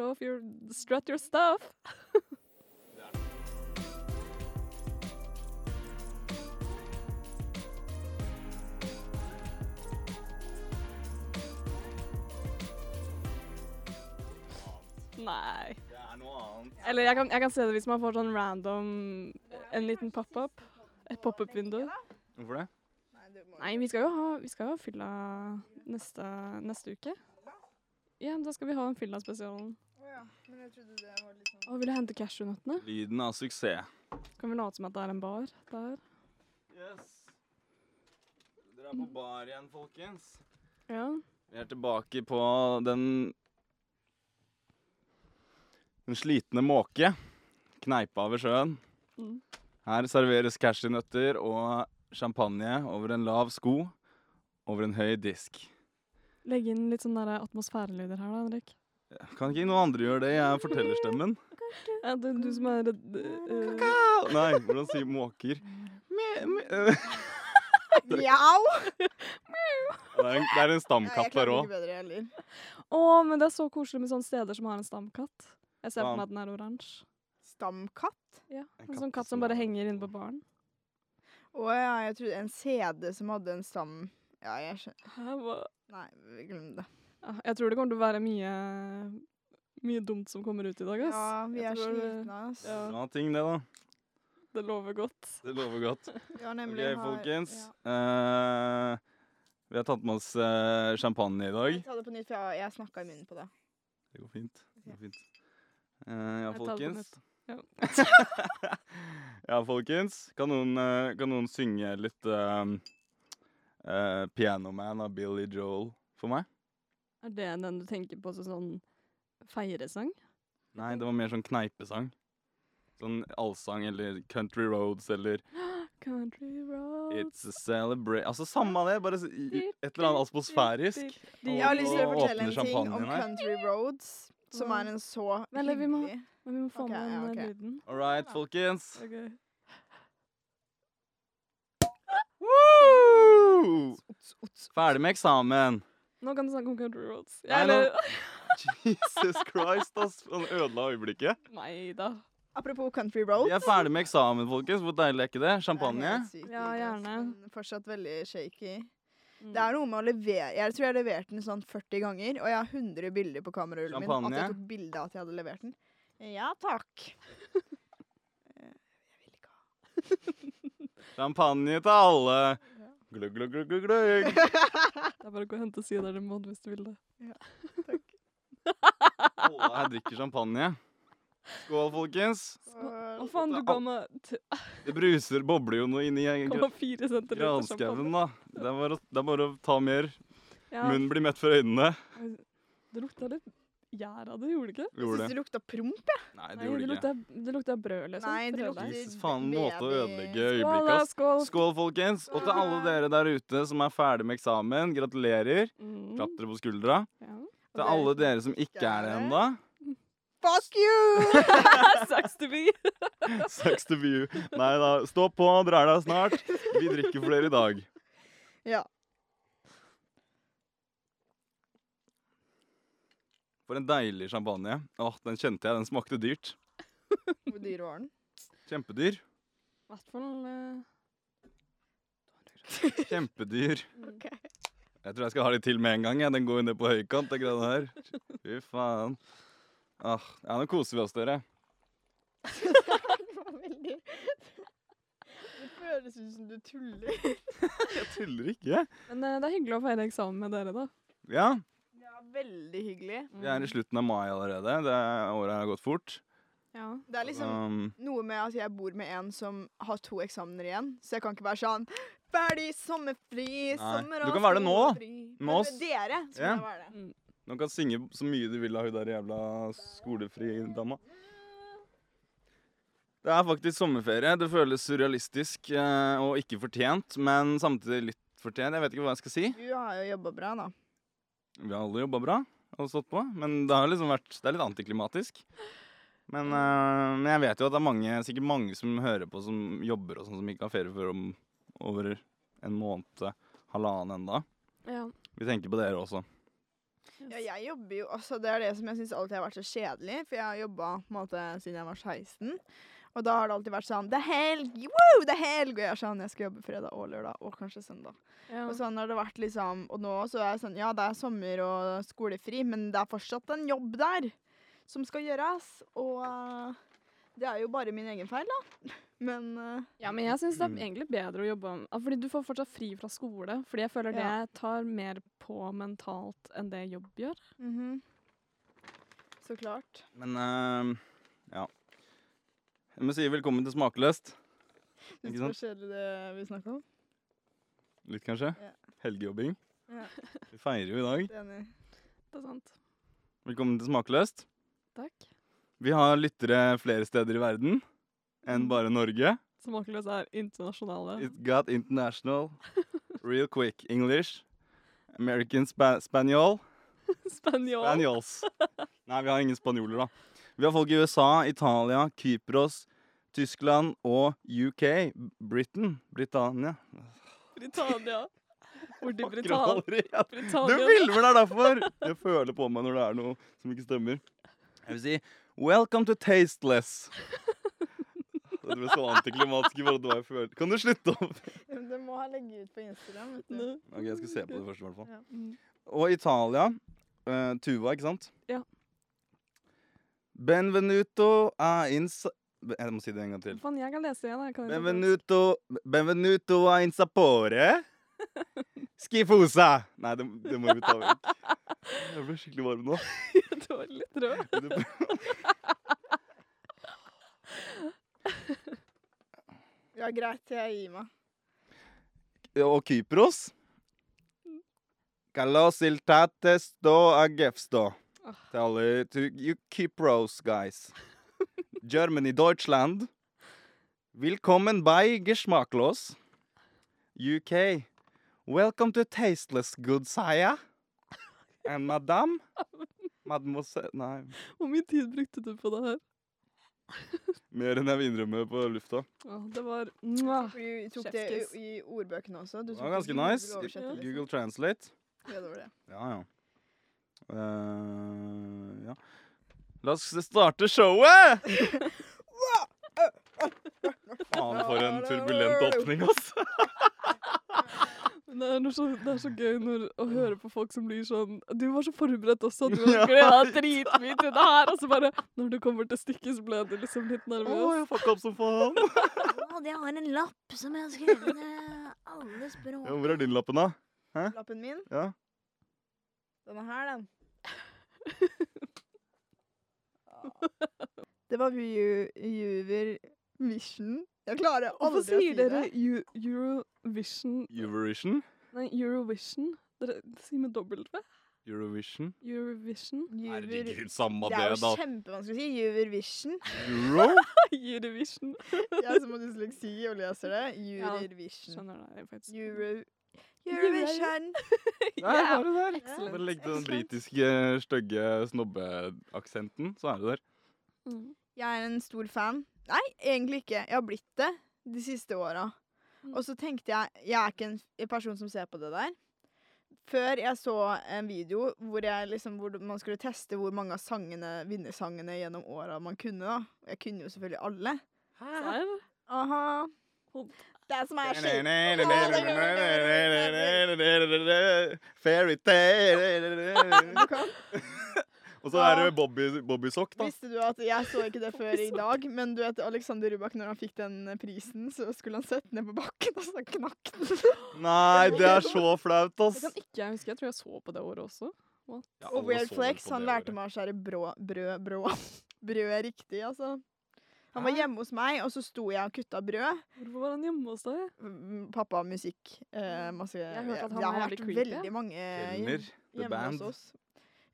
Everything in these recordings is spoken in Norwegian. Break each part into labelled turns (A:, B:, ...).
A: off your strut your stuff. Nei.
B: Det er noe annet.
A: Eller jeg kan, jeg kan se det hvis man får sånn random En liten pop-up. Et pop-up-vindu.
B: Hvorfor det?
A: Nei, vi skal jo ha, vi skal jo ha fylla neste, neste uke. Ja, da skal vi ha den fylla-spesialen.
C: Men jeg trodde det var litt sånn
A: Å, vil jeg hente cashewnøttene?
B: Lyden av suksess.
A: Kan vi late som at det er en bar der?
B: Yes. Dere er på bar igjen, folkens.
A: Ja.
B: Vi er tilbake på den Den slitne måke. Kneipa ved sjøen.
A: Mm.
B: Her serveres cashewnøtter og champagne over en lav sko over en høy disk.
A: Legge inn litt sånn der atmosfærelyder her da, Henrik.
B: Kan ikke noen andre gjøre det? Jeg er fortellerstemmen.
A: Ja, det er du som er eh,
B: Nei, hvordan sier måker? Me- me- øh,
C: Mjau!
B: Det er en, det er en
C: Jeg
B: stamkatt der
C: klarer
B: òg.
C: ikke bedre heller.
A: Å, men det er så koselig med sånne steder som har en stamkatt. Jeg ser for
B: Faen.
A: meg at den er oransje.
C: Stamkatt?
A: Ja, En
B: En katt
A: sånn katt
B: som
A: som bare
B: er-
A: henger inne på baren.
C: Å ja, jeg trodde en CD som hadde en stam... Ja, jeg skjønner
A: Hæ, hva?
C: Nei, glem det.
A: Ja, Ah, Jeg tror det kommer til å være mye, mye dumt som kommer ut i dag, ass.
C: Ja, vi
A: Jeg
C: er
A: tror det-
C: slitne, ass.
A: Ja.
B: Bra ting, det, da.
A: Det lover godt.
B: Det lover godt.
C: Vi har
B: Ok,
C: nemlig har-
B: folkens.
C: Ja.
B: Eh, vi har tatt med oss eh, champagne i dag.
C: Jeg tar det på nytt, for jeg, jeg snakka i munnen på det.
B: Det går fint. Det går fint. Eh,
A: Jeg
B: ja,
A: tar det på
B: folkens.
A: nytt.
B: ja, folkens. Kan noen, eh, kan noen synge litt eh, eh, Piano Man av Billy Joel for meg?
A: Er det den du tenker på som sånn feiresang?
B: Nei, det var mer sånn kneipesang. Sånn allsang eller Country Roads eller
A: Country road
B: It's a Celebrate Altså samme av det, bare s- i- i- et eller annet atmosfærisk.
A: de-
C: Jeg har lyst til å
B: Og
C: fortelle
B: åpne
C: en ting om
B: champagnen her.
C: Country Roads, som er en så
A: Vent litt, vi må-
C: hyggelig
A: Men vi må få
C: Ok,
A: med den
C: ja,
A: eh,
C: ok.
A: lyden.
B: All right, folkens.
A: Ok.
B: Woo!
C: Ots, ots.
B: Ferdig med eksamen.
A: Nå kan du snakke om country roads.
B: Nei,
A: Ja, eller
B: Jesus Christ, ass. Han ødela øyeblikket.
A: Nei da.
C: Apropos Country Roads.
B: Vi er ferdig med eksamen, folkens. Hvor deilig er ikke det?
C: Det er
B: Champagne?
C: helt sykt
A: Ja,
C: digg, ass,
A: gjerne.
C: Men fortsatt veldig shaky.
A: Mm.
C: Det er noe med å levere Jeg tror jeg leverte den sånn 40 ganger, og jeg har 100 bilder på kamerarullen min at
B: Champagne?
C: jeg tok bilde av at jeg hadde levert den. Ja takk. Eh, jeg vil ikke ha
B: Champagne til alle. Glugg, glugg, glugg, glugg,
A: Det
B: glugg.
A: er bare å gå og hente sider i måned hvis du vil det.
B: Alle her drikker champagne. Skål, folkens.
A: Å
C: Skål.
A: faen, du ga meg t-
B: Det bruser, bobler jo noe inni gra-
A: 1,4 centimeter
B: granskauen, da. Det er, bare, å- det er bare å ta mer.
A: Ja.
B: Munnen blir mett for øynene.
A: Det lukta litt gjær av det, gjorde det ikke?
C: Jeg
B: Gjorde det.
C: syns det lukta promp. eh.
B: Nei, det
A: Nei,
B: gjorde det ikke.
A: lukta, det lukta brød, liksom.
C: Nei, det
A: Brøddeig.
C: lukta
B: Jesus, faen, måte å ødelegge
A: Skål,
B: øyeblikket,
A: da,
B: ass.
A: skål.
B: Skål, folkens. Og til alle dere der ute som er ferdig med eksamen, gratulerer.
A: Mm,
B: Klapp dere på skuldra.
A: ja.
B: Til alle dere som ikke er det ennå,
C: Fuck you!
A: Sucks to be.
B: sucks to be you. Nei da, stå på, dere er der snart. Vi drikker for dere i dag.
C: Ja.
B: For en deilig champagne. Åh, den kjente jeg. Den smakte dyrt.
C: Hvor dyr var den?
B: Kjempedyr.
A: I hvert fall eh,
B: Kjempedyr.
A: Ok.
B: Jeg tror jeg skal ha litt til med en gang. Jeg. Den går jo ned på høykant, det greiene her. Fy faen. Ah, ja, nå koser vi oss, dere.
C: Det var veldig Det føles ut som du tuller.
B: Jeg tuller ikke.
A: Men eh, det er hyggelig å feire eksamen med dere, da.
B: Ja,
C: Ja, veldig hyggelig.
A: Mm.
B: vi er i slutten av mai allerede. Det er, året har gått fort.
A: Ja.
C: Det er liksom
B: Um,
C: noe med at jeg bor med en som har to eksamener igjen, så jeg kan ikke være sånn Ferdig sommerfri, sommer
B: du kan være det nå,
C: skolefri».
B: med
C: Men
B: oss.
C: Dere skal
B: Ja.
C: jeg være det.
B: Nå kan synge så mye du vil av hun der jævla skolefri dama. Det er faktisk sommerferie. Det føles surrealistisk eh, og ikke fortjent, men samtidig litt fortjent. Jeg vet ikke hva jeg skal si.
C: Du har jo jobba bra, da.
B: Vi har alle jobba bra og stått på, men det har liksom vært Det er litt antiklimatisk. Men, eh, men jeg vet jo at det er mange, sikkert mange som hører på, som jobber og sånn, som ikke har ferie før om over en måned, halvannen enda.
A: ja.
B: Vi tenker på dere også.
C: Ja, jeg jobber jo altså Det er det som jeg syns alltid har vært så kjedelig, for jeg har jobba på en måte siden jeg var 16. Og da har det alltid vært sånn Det er helg! Woo! Det er helg! Og jeg er sånn Jeg skal jobbe fredag og lørdag, og kanskje søndag.
A: Ja.
C: Og sånn har det vært liksom Og nå så er jeg sånn Ja, det er sommer og skolefri, men det er fortsatt en jobb der som skal gjøres. Og eh, det er jo bare min egen feil, da. Men eh,
A: Ja, men jeg syns det er
B: Mm.
A: egentlig bedre å jobbe om ah, Fordi du får fortsatt fri fra skole. Fordi jeg føler
C: Ja.
A: det tar mer på mentalt enn det jobb gjør.
C: mhm. Så klart.
B: Men eh, ja. Jeg må si velkommen til Smakløst.
C: Syns
B: Ikke
C: du det
B: sant?
C: var kjedelig det vi snakka om?
B: Litt, kanskje.
C: Ja.
B: Helgejobbing.
C: Ja.
B: Vi feirer jo i dag.
C: Det er Enig.
A: Det er sant.
B: Velkommen til Smakløst.
A: Takk.
B: Vi har lyttere flere steder i verden
C: Mm.
B: enn bare Norge.
A: Smakløs er internasjonale.
B: It got international real quick. English. American spa spanjol.
A: Spanjol.
B: Spanjols. Nei, vi har ingen spanjoler, da. Vi har folk i USA, Italia, Kypros, Tyskland og UK. Britain. Britannia.
A: Britannia. Hvor de
B: Akkurat
A: Britann...
B: aldri, ja. Du
A: Britannia
B: filmer deg derfor! Jeg føler på meg når det er noe som ikke stemmer. Jeg vil si welcome to tasteless. Det ble så antiklimatisk i forhold til hva jeg føler. Kan du slutte opp?
C: Men Det må jeg legge ut på Instagram. vet du.
A: Nei.
B: Ok, Jeg skal se på det første, i hvert fall.
C: Ja.
A: Mm.
B: Og Italia. eh, Tuva, ikke sant?
A: Ja.
B: Benvenuto a insa... Jeg må si det en gang til.
A: Faen, jeg kan lese igjen. Jeg kan ikke lese.
B: Benvenuto, benvenuto a insapore. Skifosa! Nei, det, det må vi ta vekk. Jeg ble skikkelig varm nå.
A: Det var litt rød.
B: Du prøver-
C: ja, greit. Jeg gir meg.
B: Eh, og Kypros. Kalos iltates do agefsto. Til alle to you Kypros, guys. Germany, Deutschland. Velkommen bei Geschmacklos. UK. Welcome to Tasteless Good Saya. And madame. Mademoiselle Nei,
A: Hvor mye tid brukte du på det her?
B: mer enn jeg vil innrømme på lufta.
A: Å, det var
D: Ah,
A: Mwah.
C: Du tok det
A: Chefskiss.
C: i, i ordbøkene også. Du
B: Det
C: tok
B: var ganske
C: Google
B: nice.
C: oversetter, liksom.
B: Google Translate.
C: Ja, det var det.
B: Ja, ja. Eh, ja. La oss starte showet! Faen, for en turbulent åpning, altså.
A: Men Det er, noe så, det er så gøy når, å høre på folk som blir sånn Du var så forberedt også, du har
B: Ja,
A: gleda dritmye til det her. Og så bare Når du kommer til stykket, så ble du liksom litt
B: Å,
A: nervøs.
B: jeg fucka opp som faen.
D: Å, jeg har en lapp som jeg har skrevet ned alle
B: Ja,
D: språk.
B: hvor er din lappen, da?
C: Lappen min,
B: Ja.
C: den er her, den. Det var Ju- Juver Vision. Jeg klarer aldri
A: Hvorfor
C: å si
A: sier dere
C: det.
A: Eu- Eurovision
B: Eurovision.
A: Nei, Eurovision? Dere det sier med dobbelt V.
B: Eurovision.
A: Eurovision.
C: Juver...
B: Herregud, samme
C: Det
B: det,
C: er jo
B: da.
C: kjempevanskelig å si. Juver Vision.
B: Euro?
A: Eurovision.
C: Jeg som har dysleksi liksom og leser det.
A: Ja.
C: Juver Vision.
A: Skjønner det faktisk.
C: Euro...
A: Euro-
C: Eurovision.
B: Der var det der.
A: Excellent.
B: Bare legg til den
A: Excellent.
B: britiske, stygge snobbeaksenten, så er det der.
A: Mm.
C: Jeg er en stor fan. Nei, egentlig ikke. Jeg har blitt det de siste åra.
A: Mm.
C: Og så tenkte jeg Jeg er ikke en f- person som ser på det der. Før jeg så en video hvor, jeg liksom, hvor man skulle teste hvor mange av sangene, vinnersangene gjennom åra man kunne. da. Og jeg kunne jo selvfølgelig alle.
A: Der.
C: Aha.
A: Hopp.
C: Det som er skjedd
B: Fairytale Og så er det Bobby, Bobby Sock, da.
C: Visste du at Jeg så ikke det før i dag, men du vet Alexander Rybak, når han fikk den prisen, så skulle han sette ned på bakken, og så knakk den.
B: Nei, det er så flaut,
A: Det
B: ass.
A: kan ikke jeg huske. Jeg tror jeg så på det året også.
C: Og Weird Flex, han lærte meg å skjære brå, brød, brå, brød riktig, altså. Han var
B: Hæ?
C: hjemme hos meg, og så sto jeg og kutta brød.
A: Hvorfor var han hjemme hos deg?
C: Mm, Pappa har musikk. Eh, masse,
A: Mm. har hørt at han
C: det
A: var
C: har
A: jævlig
C: vært
A: creepy.
C: veldig mange hjem,
B: Kelner, the
C: hjemme hos
B: band.
C: oss.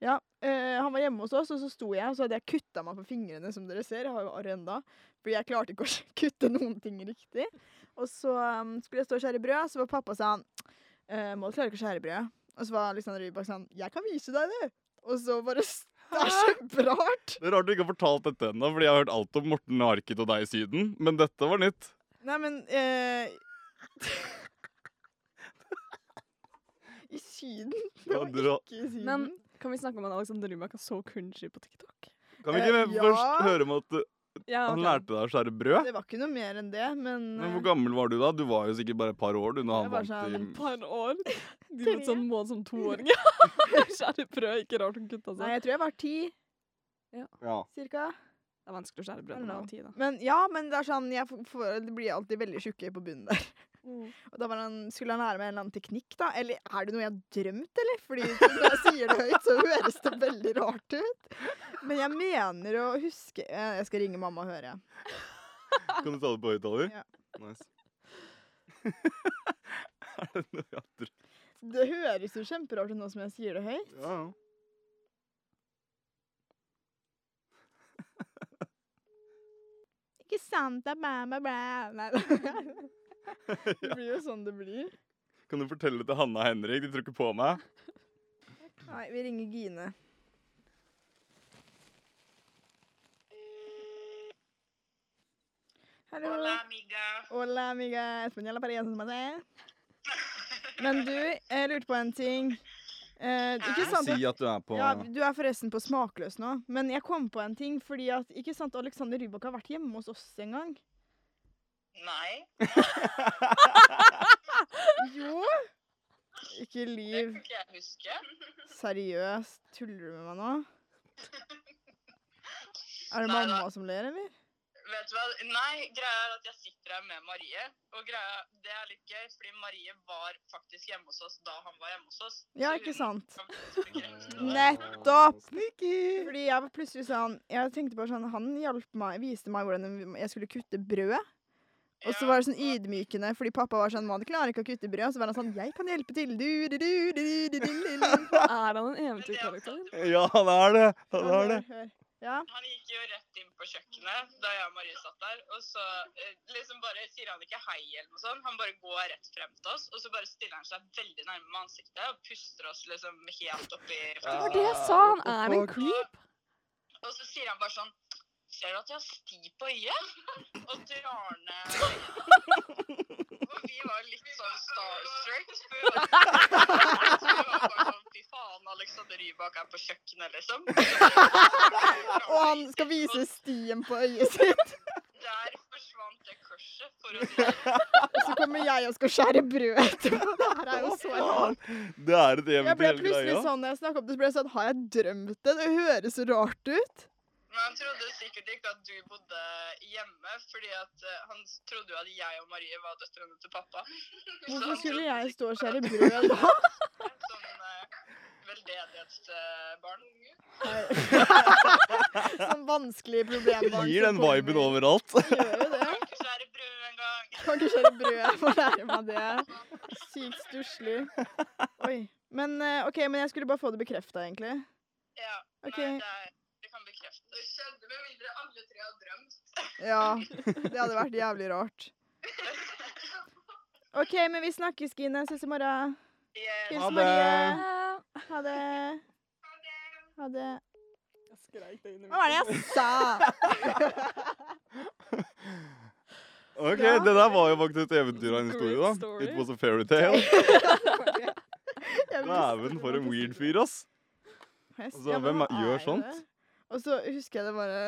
C: Ja, eh, han var hjemme hos oss, og så sto jeg, og så hadde jeg kutta meg på fingrene, som dere ser. Jeg har jo arr enda. Fordi jeg klarte ikke å kutte noen ting riktig. Og så um, skulle jeg stå og skjære brød, så var pappa sånn eh, Må du klare ikke å skjære brød? Og så var Alexander Rybak sånn Jeg kan vise deg det! Og så bare s- Det er kjemperart!
B: Det er rart du ikke har fortalt dette ennå, fordi jeg har hørt alt om Morten Harket og deg i Syden, men dette var nytt.
C: Nei, men eh, I Syden? Det
B: Ja,
C: var
B: dra-
C: ikke i Syden.
A: Men Kan vi snakke om at Alexander Rybak er så cringy på TikTok?
B: Kan vi
C: Eh,
B: ikke
C: ja.
B: først høre om at uh,
A: Ja,
B: han
A: ok.
B: lærte deg å skjære brød?
C: Det var ikke noe mer enn det, men,
B: Men
C: eh,
B: hvor gammel var du da? Du var jo sikkert bare et par år du, når
C: Jeg
B: han
C: var
B: vant
C: sånn
A: Et
B: i
A: par år. De
C: Tre.
A: lot sånn mål som toåringer. skjære brød, ikke rart hun kutta
C: Nei,
A: seg.
C: jeg tror jeg var ti,
B: ja.
C: cirka.
A: Det er vanskelig å skjære brød når man er ti, da.
C: Men ja, men det er sånn, jeg f- får, det blir alltid veldig tjukke på bunnen der. Og da var han, skulle han lære meg en eller annen teknikk, da. Eller er det noe jeg har drømt, eller? Fordi når jeg sier det høyt, så høres det veldig rart ut. Men jeg mener å huske eh, Jeg skal ringe mamma og høre.
B: Kan du ta det på høyttaler?
C: Ja.
B: Nice. er det noe jeg tror?
C: Det høres jo kjemperart ut nå som jeg sier det høyt.
B: Ja, ja.
C: Ikke sant, da, bæ, bæ, bæ. Nei, da. Det blir jo sånn det blir.
B: Kan du fortelle det til Hanna og Henrik? De tror ikke på meg.
C: Nei, vi ringer Gine. Hallo.
E: Hola, amiga.
C: Hola, amiga española pariente med deg. Men du, jeg lurte på en ting. Eh, ikke sant at,
B: Si at du er på
C: ja, Du er forresten på smakløs nå, men jeg kom på en ting. fordi at, Ikke sant Alexander Rybak har vært hjemme hos oss en gang?
E: Nei.
C: Jo! Ikke
E: Det
C: liv.
E: kan ikke jeg huske.
C: Seriøst, tuller du med meg nå? Er det
E: Nei,
C: mamma som ler, eller?
E: Vet du hva? Nei, greia er at jeg sitter her med Marie. Og greia, det er litt gøy, fordi Marie var faktisk hjemme hos oss da han var hjemme hos oss.
C: Ja,
E: Så
C: ikke
E: hun
C: sant?
E: kan faktisk bekrefte det.
C: Nettopp! Fordi jeg var plutselig sånn Jeg tenkte bare sånn Han hjalp meg, viste meg hvordan jeg skulle kutte brød. Og så
E: Ja,
C: var det sånn ydmykende, fordi pappa var sånn 'Man klarer ikke å kutte brød.' Og så var han sånn 'Jeg kan hjelpe til.' Du, du, du, du, du, du, du, du.
A: Er han en
E: men det er
A: eventyrkarakter?
E: sant.
B: Ja, han er det. Han
C: Ja,
B: er det.
C: hør, hør. Ja.
E: Han gikk jo rett inn på kjøkkenet da jeg og Marie satt der. Og så eh, liksom bare sier han ikke hei eller noe sånt. Han bare går rett frem til oss, og så bare stiller han seg veldig nærme med ansiktet og puster oss liksom helt oppi
A: Det var det jeg sa! Han er en
B: Fuck.
A: creep.
E: Og så sier han bare sånn Ser du at jeg har sti på øyet? Og drar ned øyet. Og vi var litt sånn starstruck. for vi var- vi var bare sånn, Fy faen, Alexander Rybak er på kjøkkenet, liksom.
C: Og han skal vise stien på øyet sitt,
E: Der forsvant det kurset, for å si det sånn.
C: og så kommer jeg og skal skjære brød etterpå. Det her er jo så rart.
B: Det er et
C: Jeg ble
B: eventyr hele
C: plutselig
B: greia.
C: sånn når jeg snakket om det, så ble jeg sånn Har jeg drømt det? Det høres så rart ut.
E: Men han trodde sikkert ikke at du bodde hjemme, fordi at eh, han trodde jo at jeg og Marie var døtrene til pappa. Så
C: Hvorfor
E: han
C: skulle
E: trodde
C: jeg
E: sikkert
C: stå og
E: bare at
C: skjære brød da?
E: Et sånn eh, veldedighetsbarn.
C: Sånn vanskelig problembarn.
B: Gir
C: som
B: den
C: kommer.
B: viben overalt.
C: Gjør jo det.
E: Kan ikke skjære brød engang.
C: Kan ikke skjære brød. Jeg må lære meg det. Sykt stusslig. Oi. Men eh, ok, men jeg skulle bare få det bekrefta, egentlig.
E: Ja,
C: Ok.
E: nei, det, er, det kan bekreftes. Det skjedde med mindre alle tre har drømt.
C: Ja. Det hadde vært jævlig rart. OK, men vi snakkes, Gine. Ses i morgen.
E: Yes.
B: Ha
C: Hils Marie.
A: Ja.
C: Ha det. Ha det.
A: Jeg skrek det inn i
C: Hva var det jeg sa?
B: Ok,
C: Ja.
B: det der var jo faktisk et eventyr av en historie, da.
A: Great story.
B: It was a fairytale.
C: Jeg
B: Dæven,
C: visste
B: for en
C: det var
B: weird fyr, ass.
C: Hest,
B: Altså,
C: ja, men
B: hvem
C: han
B: er- gjør
C: er jo
B: sånt?
C: det. Og så husker jeg det bare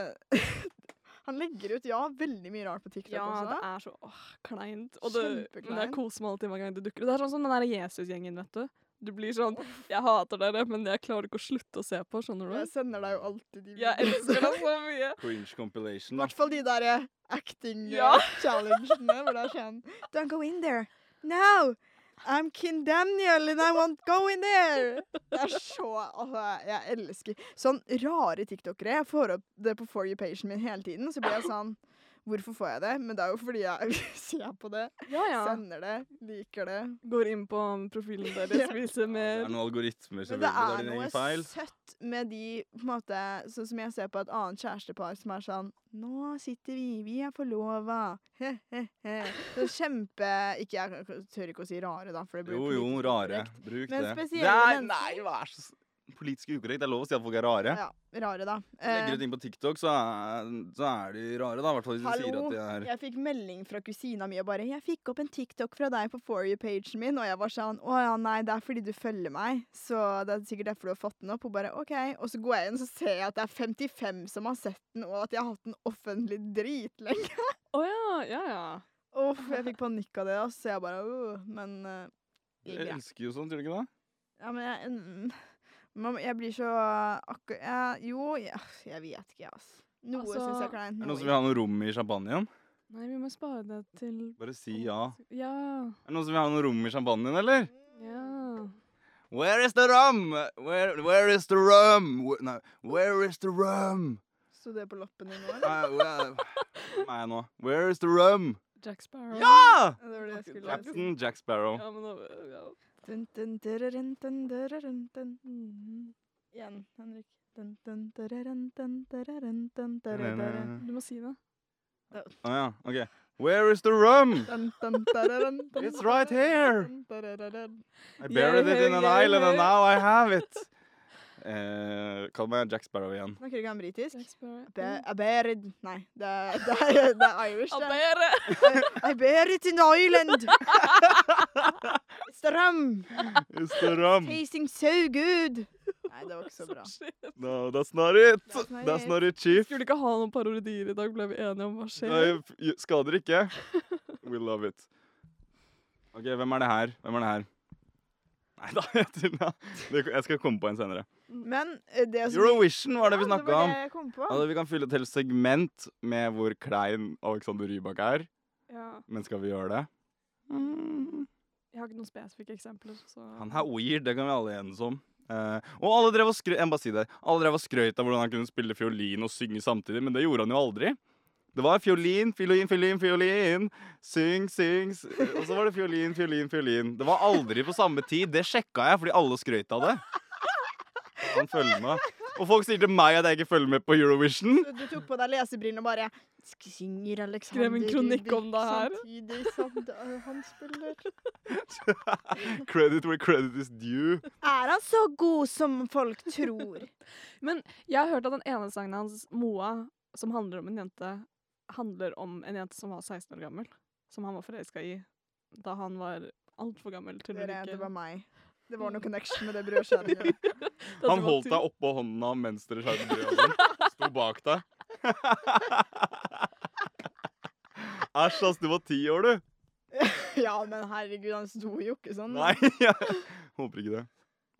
C: Han legger ut, ja, veldig mye rart på TikTok
A: Ja, det
C: også.
A: er så åh, kleint. Og det, men jeg
C: Kjempekleint.
A: koser meg alltid hver gang det dukker opp. Det er sånn som den der Jesus-gjengen, vet du. Du blir sånn Jeg hater dere, men jeg klarer ikke å slutte å se på, skjønner du?
C: Jeg sender deg jo alltid de
A: Jeg elsker det så mye.
B: Cringe compilation,
C: I
B: da.
C: hvert fall de der eh, acting eh,
A: Ja.
C: challengene hvor det er sånn Don't go in there. No! I'm King Daniel and I won't go in there! Det er så altså, Jeg elsker sånn rare tiktokere. Jeg får opp det på For you-pagen min hele tiden, så blir jeg sånn Hvorfor får jeg det? Men det er jo fordi jeg ser på det,
A: Ja, ja.
C: sender det, liker det.
A: Går inn på profilen deres,
C: Ja.
A: viser
B: Det er
A: mer.
B: noen algoritmer,
C: Men det
B: selvfølgelig. Det
C: er
B: er din
C: noe
B: egen feil.
C: søtt med de på en måte, Sånn som jeg ser på et annet kjærestepar som er sånn Nå sitter vi, vi er forlova. He-he-he. Så kjempe Ikke jeg tør ikke å si rare, da. For det blir
B: Jo, jo,
C: politisk
B: rare.
C: korrekt.
B: Bruk
C: Men
B: det.
C: spesielle
B: Nei,
C: mennesker-
B: nei, vær så s- politisk ukorrekt. Det er lov å si at folk er rare.
C: Ja, rare, da.
B: Legger
C: Eh,
B: du ting på TikTok, så er, så er de rare, da. I hvert fall hvis de sier
C: Hallo,
B: at de er
C: Eh, jeg fikk melding fra kusina mi og bare 'Jeg fikk opp en TikTok fra deg på Foree-pagen min', og jeg var sånn 'Å ja, nei, det er fordi du følger meg, så det er sikkert derfor du har fått den opp', og bare 'OK', og så går jeg inn, så ser jeg at det er 55 som har sett den, og at jeg har hatt den offentlig dritlenge.
A: Å ja, ja, ja.
C: Uff, jeg fikk panikk av det, ass, så jeg bare «Åh», Men eh, det gikk
B: Jeg
C: greit.
B: elsker jo sånn, tror du ikke det?
C: Ja, men jeg mm, man- Jeg blir så akkur... Jeg, jo, jeg, jeg vet ikke, ass. Noe
A: Altså,
C: syns jeg er kleint.
B: Er det noen
C: noe
B: som vil
C: ikke.
B: ha noe rom i champagnen?
A: Nei, vi må spare det til
B: Bare si ja.
A: Ja.
B: Er det noen som vil ha noe rom i champagnen, eller?
A: ja.
B: Where is the rum? Where, where is the rum? Where, nei, where is the rum?
C: Sto det på lappen din nå, eller?
B: Nei, where- Hvem er jeg nå? Where is the rum?
A: Jack Sparrow.
B: Ja!
C: Ja, Det var det jeg skulle si.
B: Captain Jack Sparrow.
A: Ja, men da, ja.
C: Dun, dun, dururun, dun, dururun, dun. Igjen, Henrik. Dun, dun, dururun, dun, dururun, dun, dururun.
B: Å
A: Du må si det.
B: ja, ok. Where is the rum?
C: Dun, dun, dururun, dun,
B: It's right here.
C: dun, dururun.
B: I buried it in an
A: Yeah,
B: island and
A: yeah.
B: now I have it. Eh, kall meg Jack Sparrow igjen.
C: Snakker ikke han britisk?
A: Jack Sparrow.
C: Be- I bear it Nei, det er, det er, det er Irish. det.
A: Abere!
C: I bear it in the island. It's the rum.
B: It's the rum.
C: Tasting so good. Nei, det var ikke så bra.
B: No, that's not it.
C: That's not
B: That's
C: it.
B: not it, chief.
A: Skulle ikke ha noen parodier i dag, ble vi enige om hva skjer.
B: Nei, f- skader ikke. We love it. Ok, hvem er det her? Hvem er det her? Nei da, jeg tulla. Det- Jeg skal komme på en senere.
C: Men eh, det som
B: Eurovision var det vi
C: Ja,
B: snakka om.
C: Det var det jeg kom på.
B: Altså, vi kan fylle et helt segment med hvor klein Alexander Rybak er.
A: Ja.
B: Men skal vi gjøre det?
A: Jeg har ikke noen spesifikke eksempler. Så.
B: Han er weird, det kan vi alle enes om. Eh, og alle drev og skrøt Jeg må bare si det Alle drev og skrøt av hvordan han kunne spille fiolin og synge samtidig, men det gjorde han jo aldri. Det var fiolin, fiolin, fiolin, fiolin. Syng, syng. s- Og så var det fiolin, fiolin, fiolin. Det var aldri på samme tid. Det sjekka jeg fordi alle skrøt av det. Han følger med. Og folk sier til meg at jeg ikke følger med på Eurovision.
C: Så du tok på deg lesebrillene og bare "Sk- Synger Alexander
A: Skrev en kronikk om det her."
C: Samtidig som da- han spiller
B: Credit where credit is due.
C: Er han så god som folk tror?
A: Jeg har hørt at den ene sangen hans, Moa, som handler om en jente, handler om en jente som var 16 år gammel. Som han var forelska i da han var altfor gammel til å
C: Dere, det var
A: like
C: meg. Det var noe connection med det brødskjæringen.
A: Da
B: Han
A: tror jeg
B: holdt
A: at
B: deg oppå hånda mens dere skjærte brødet. Sto bak deg. Æsj, ass. Du var ti år, du.
C: Ja, men herregud, han sto jo ikke sånn.
B: Nei, jeg håper ikke det.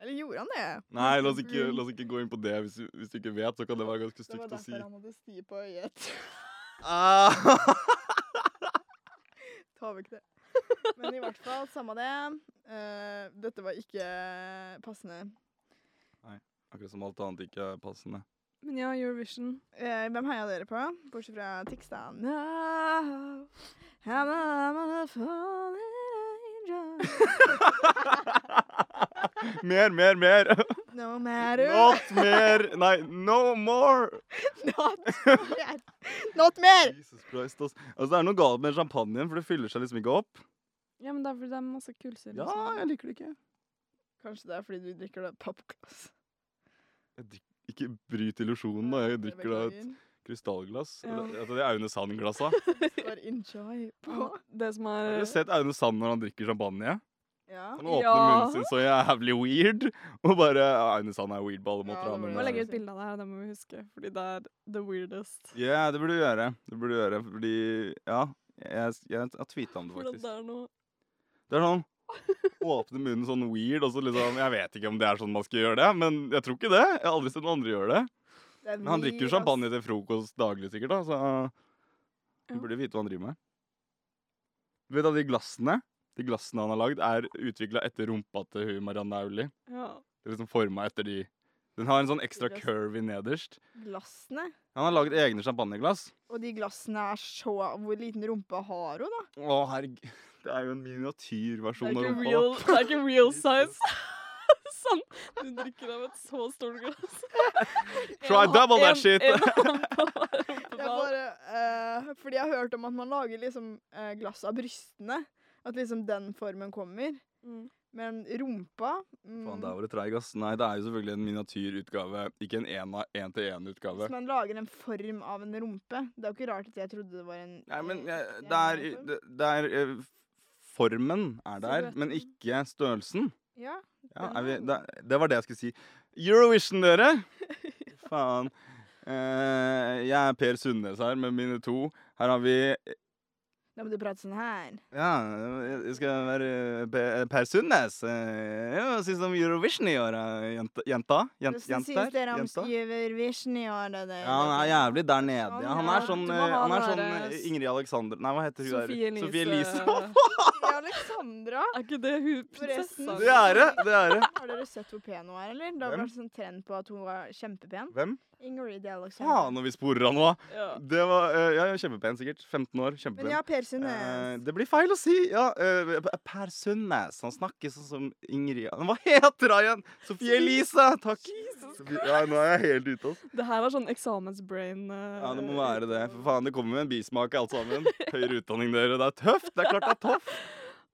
C: Eller gjorde han det?
B: Nei, la oss ikke, la oss ikke gå inn på det. Hvis, du- hvis du ikke vet, så kan det være ganske
C: Det var
B: stygt å si.
C: derfor han hadde sti på øyet.
B: Ah.
C: Ta vekk det. Men i hvert fall, samme det. Eh, dette var ikke passende.
B: Akkurat som alt annet ikke er passende.
A: Men ja, Eurovision.
C: Eh, hvem heia dere på? Bortsett fra teksta. Now, I'm a fallen angel.
B: Mer, mer, mer.
C: No matter
B: Not mer. Nei, no more.
C: Not mer. Not mer!
B: Jesus Christ, ass. Altså, det er noe galt med champagnen, for det fyller seg liksom ikke opp.
A: Ja, men det er fordi det er masse kullsyre. og
B: Ja,
A: sånn.
B: jeg liker det ikke.
C: Kanskje det er fordi du drikker det pappglass.
B: Ikke bryt illusjonen, da. Jeg drikker da et
C: Beklager.
B: Krystallglass?
A: Ja.
B: Eller- altså, Det er Aune Sand-glassa.
C: Det står enjoy på.
A: Det som
B: Har
A: er
B: dere sett Aune Sand når han drikker champagne?
C: Ja.
B: Han åpner
A: Ja.
B: munnen sin så jævlig weird. Og bare ja, Aune Sand er weird på alle
C: Ja,
B: måter.
C: det
B: Ja,
C: var
A: Vi
B: men,
A: må
C: det.
A: legge
B: eh,
A: ut bilde av det her, det må vi huske. Fordi det er the weirdest.
B: ja, det burde du gjøre. Det burde du gjøre, fordi Ja, jeg, jeg, jeg tweeta om det,
A: Hvordan
B: faktisk.
A: det er noe
B: Det er sånn Åpne munnen sånn weird, og så liksom Jeg vet ikke om det er sånn man skal gjøre det, men jeg tror ikke det. Jeg har aldri sett noen andre gjøre det.
C: Det er
B: Men han drikker jo
C: weird,
B: champagne til frokost daglig, sikkert, da, så
A: Ja.
B: han burde vite hva han driver med. Du vet at de glassene De glassene han har lagd, er utvikla etter rumpa til hun Marianne Aulie.
A: Ja.
B: Det er liksom forma etter de Den har en sånn ekstra
C: Glass.
B: curvy nederst.
C: ass. Glassene.
B: Han har lagd egne champagneglass.
C: Og de glassene er så Hvor liten rumpe har hun, da?
B: Å, herregud. Det er jo en
A: Det, er
B: miniatyrversjon av
A: ikke
B: rumpa.
A: real,
B: da.
A: det er ikke real
B: Jesus.
A: size. sånn. Du drikker av et så stort glass.
B: Try
A: En-
B: double
A: en-
B: that shit.
A: en hånd på rumpa.
C: Det er bare eh, Fordi jeg har hørt om at man lager liksom eh, glass av brystene. At liksom den formen kommer.
A: Mm.
C: Men rumpa mm,
B: Faen, der var du treig, ass. Nei, det er jo selvfølgelig en miniatyrutgave. Ikke en ena-
C: Hvis
B: en-til-en-utgave.
C: man lager en form av en rumpe Det er jo ikke rart at jeg trodde det var en
B: Nei, men
C: eh,
B: jeg,
C: en
B: det er
C: form.
B: det, det er eh, Formen er der, men
A: Silhuetten.
B: ikke størrelsen.
C: Ja,
B: Ja,
C: Den
B: er vi,
C: er
B: det, det var det jeg skulle si. Eurovision, dere! Faen. Eh, jeg er Per Sundnes her med mine to. Her har vi
C: da må du prate sånn her
B: Ja, jeg skal være Per, per Sundnes. Eh, Hva synes du om Eurovision i år, eh, jenta? jenta? Jen-
C: Hvordan
B: jenter?
C: synes dere om
B: Jenta?
C: Eurovision i år? da, dere?
B: Ja, han er jævlig der nede. Ja, han er
A: Ja,
B: sånn,
A: du må
B: eh,
A: ha
B: han er
A: den
B: sånn
A: der,
B: eh, Ingrid Alexander Nei, hva heter hun der?
A: Sofie Elise. eh,
B: Sofie Elise.
C: Ja, Alexandra
A: er ikke det hun
C: Forresten.
A: prinsessa?
B: Det er det! Det er det.
C: Har dere sett hvor pen hun er, eller? Det har
B: Hvem?
C: vært sånn trend på at hun var kjempepen.
B: Hvem?
C: Ingrid Alexander.
B: Faen, når vi sporer han nå!
A: Ja.
B: Det var eh, Ja, ja, kjempepen, sikkert. 15 år. Kjempepen.
C: Men ja, Per
B: Eh,
C: Sundnes.
B: det blir feil å si! Ja, eh, Per Sundnes. Han snakker sånn som Ingrid Hva heter hun igjen? Sofie Elise! Takk. Sofie- Ja, nå er jeg helt ute, ass.
A: Det her var sånn eksamensbrain. eh,
B: Ja, det må være det. For faen, det kommer med en bismak, alt sammen. Høyere utdanning, dere. Det er tøft! Det er klart det er tøft!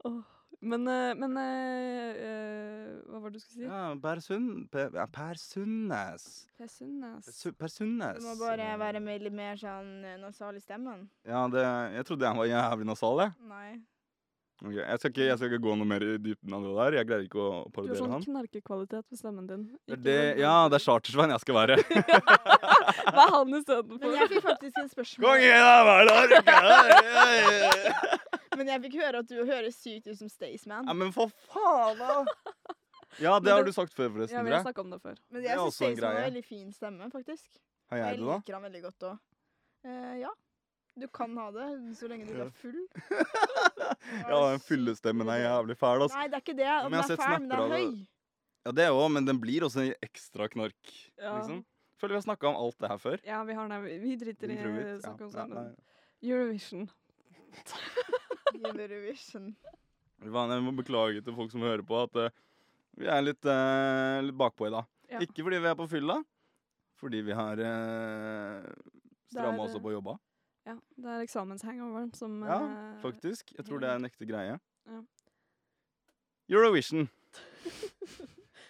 A: Åh. Men, eh, men eh, eh, Hva var det du skulle si?
B: Ja, Per, Sund, per, ja, per Sundnes.
A: Per Sundnes.
B: Su- Per Sundnes.
C: Du må bare
B: eh,
C: være med litt mer sånn eh, nasal i stemmen.
B: Ja, det, jeg trodde jeg var jævlig nasal, jeg.
C: Nei.
B: Ok, jeg, skal ikke, jeg skal ikke gå noe mer i dybden av det der. Jeg greier ikke å
A: Du har
B: parodiere
A: sånn
B: han.
A: knarkekvalitet på stemmen din.
B: Det,
A: Ikke
B: er det,
A: veldig-
B: ja, det er Chartersveien jeg skal være.
A: Hva er han
C: Men
A: istedenfor?
C: jeg fikk faktisk en spørsmål.
B: Konge, da var det her, ok.
C: Men jeg fikk høre at du høres sykt ut som Staysman.
B: Ja, men for faen, da! Ja, det har du sagt
A: Ja,
B: før, forresten.
A: vi har
B: Dre.
A: snakka om det før.
C: Men
B: det
C: jeg
B: er
C: syns
B: også en
C: Staysman har
B: greie.
C: veldig fin stemme, faktisk.
B: Har
C: Jeg
B: jeg det, da?
C: liker han veldig godt òg. ja. Du kan ha det så lenge du
B: Ja.
C: ikke er full.
B: Ja, den fyllestemmen er jævlig fæl, ass.
C: Nei, det er ikke det. at Den
B: Men jeg har
C: er
B: sett
C: fæl, men den
B: snapper
C: er
B: av
C: høy.
B: det. Ja, det òg, men den blir også en ekstra knark,
A: Ja.
B: liksom. Føler vi har snakka om alt det her før.
A: Ja, vi har den. her. Vi driter i
B: Vi tror vi-
A: å snakke om
B: ja,
A: sånt.
B: nei,
A: men Eurovision.
C: Eurovision.
B: Faen, jeg må beklage til folk som hører på at eh, vi er litt, eh, litt bakpå i dag.
A: Ja.
B: Ikke fordi vi er på fylla, fordi vi har uh, stramma oss
A: Det er- eh,
B: opp og jobba,
A: Ja, det er eksamenshangoveren som
B: Ja,
A: eh,
B: faktisk. Jeg tror det er en ekte greie.
A: Ja.
B: Eurovision.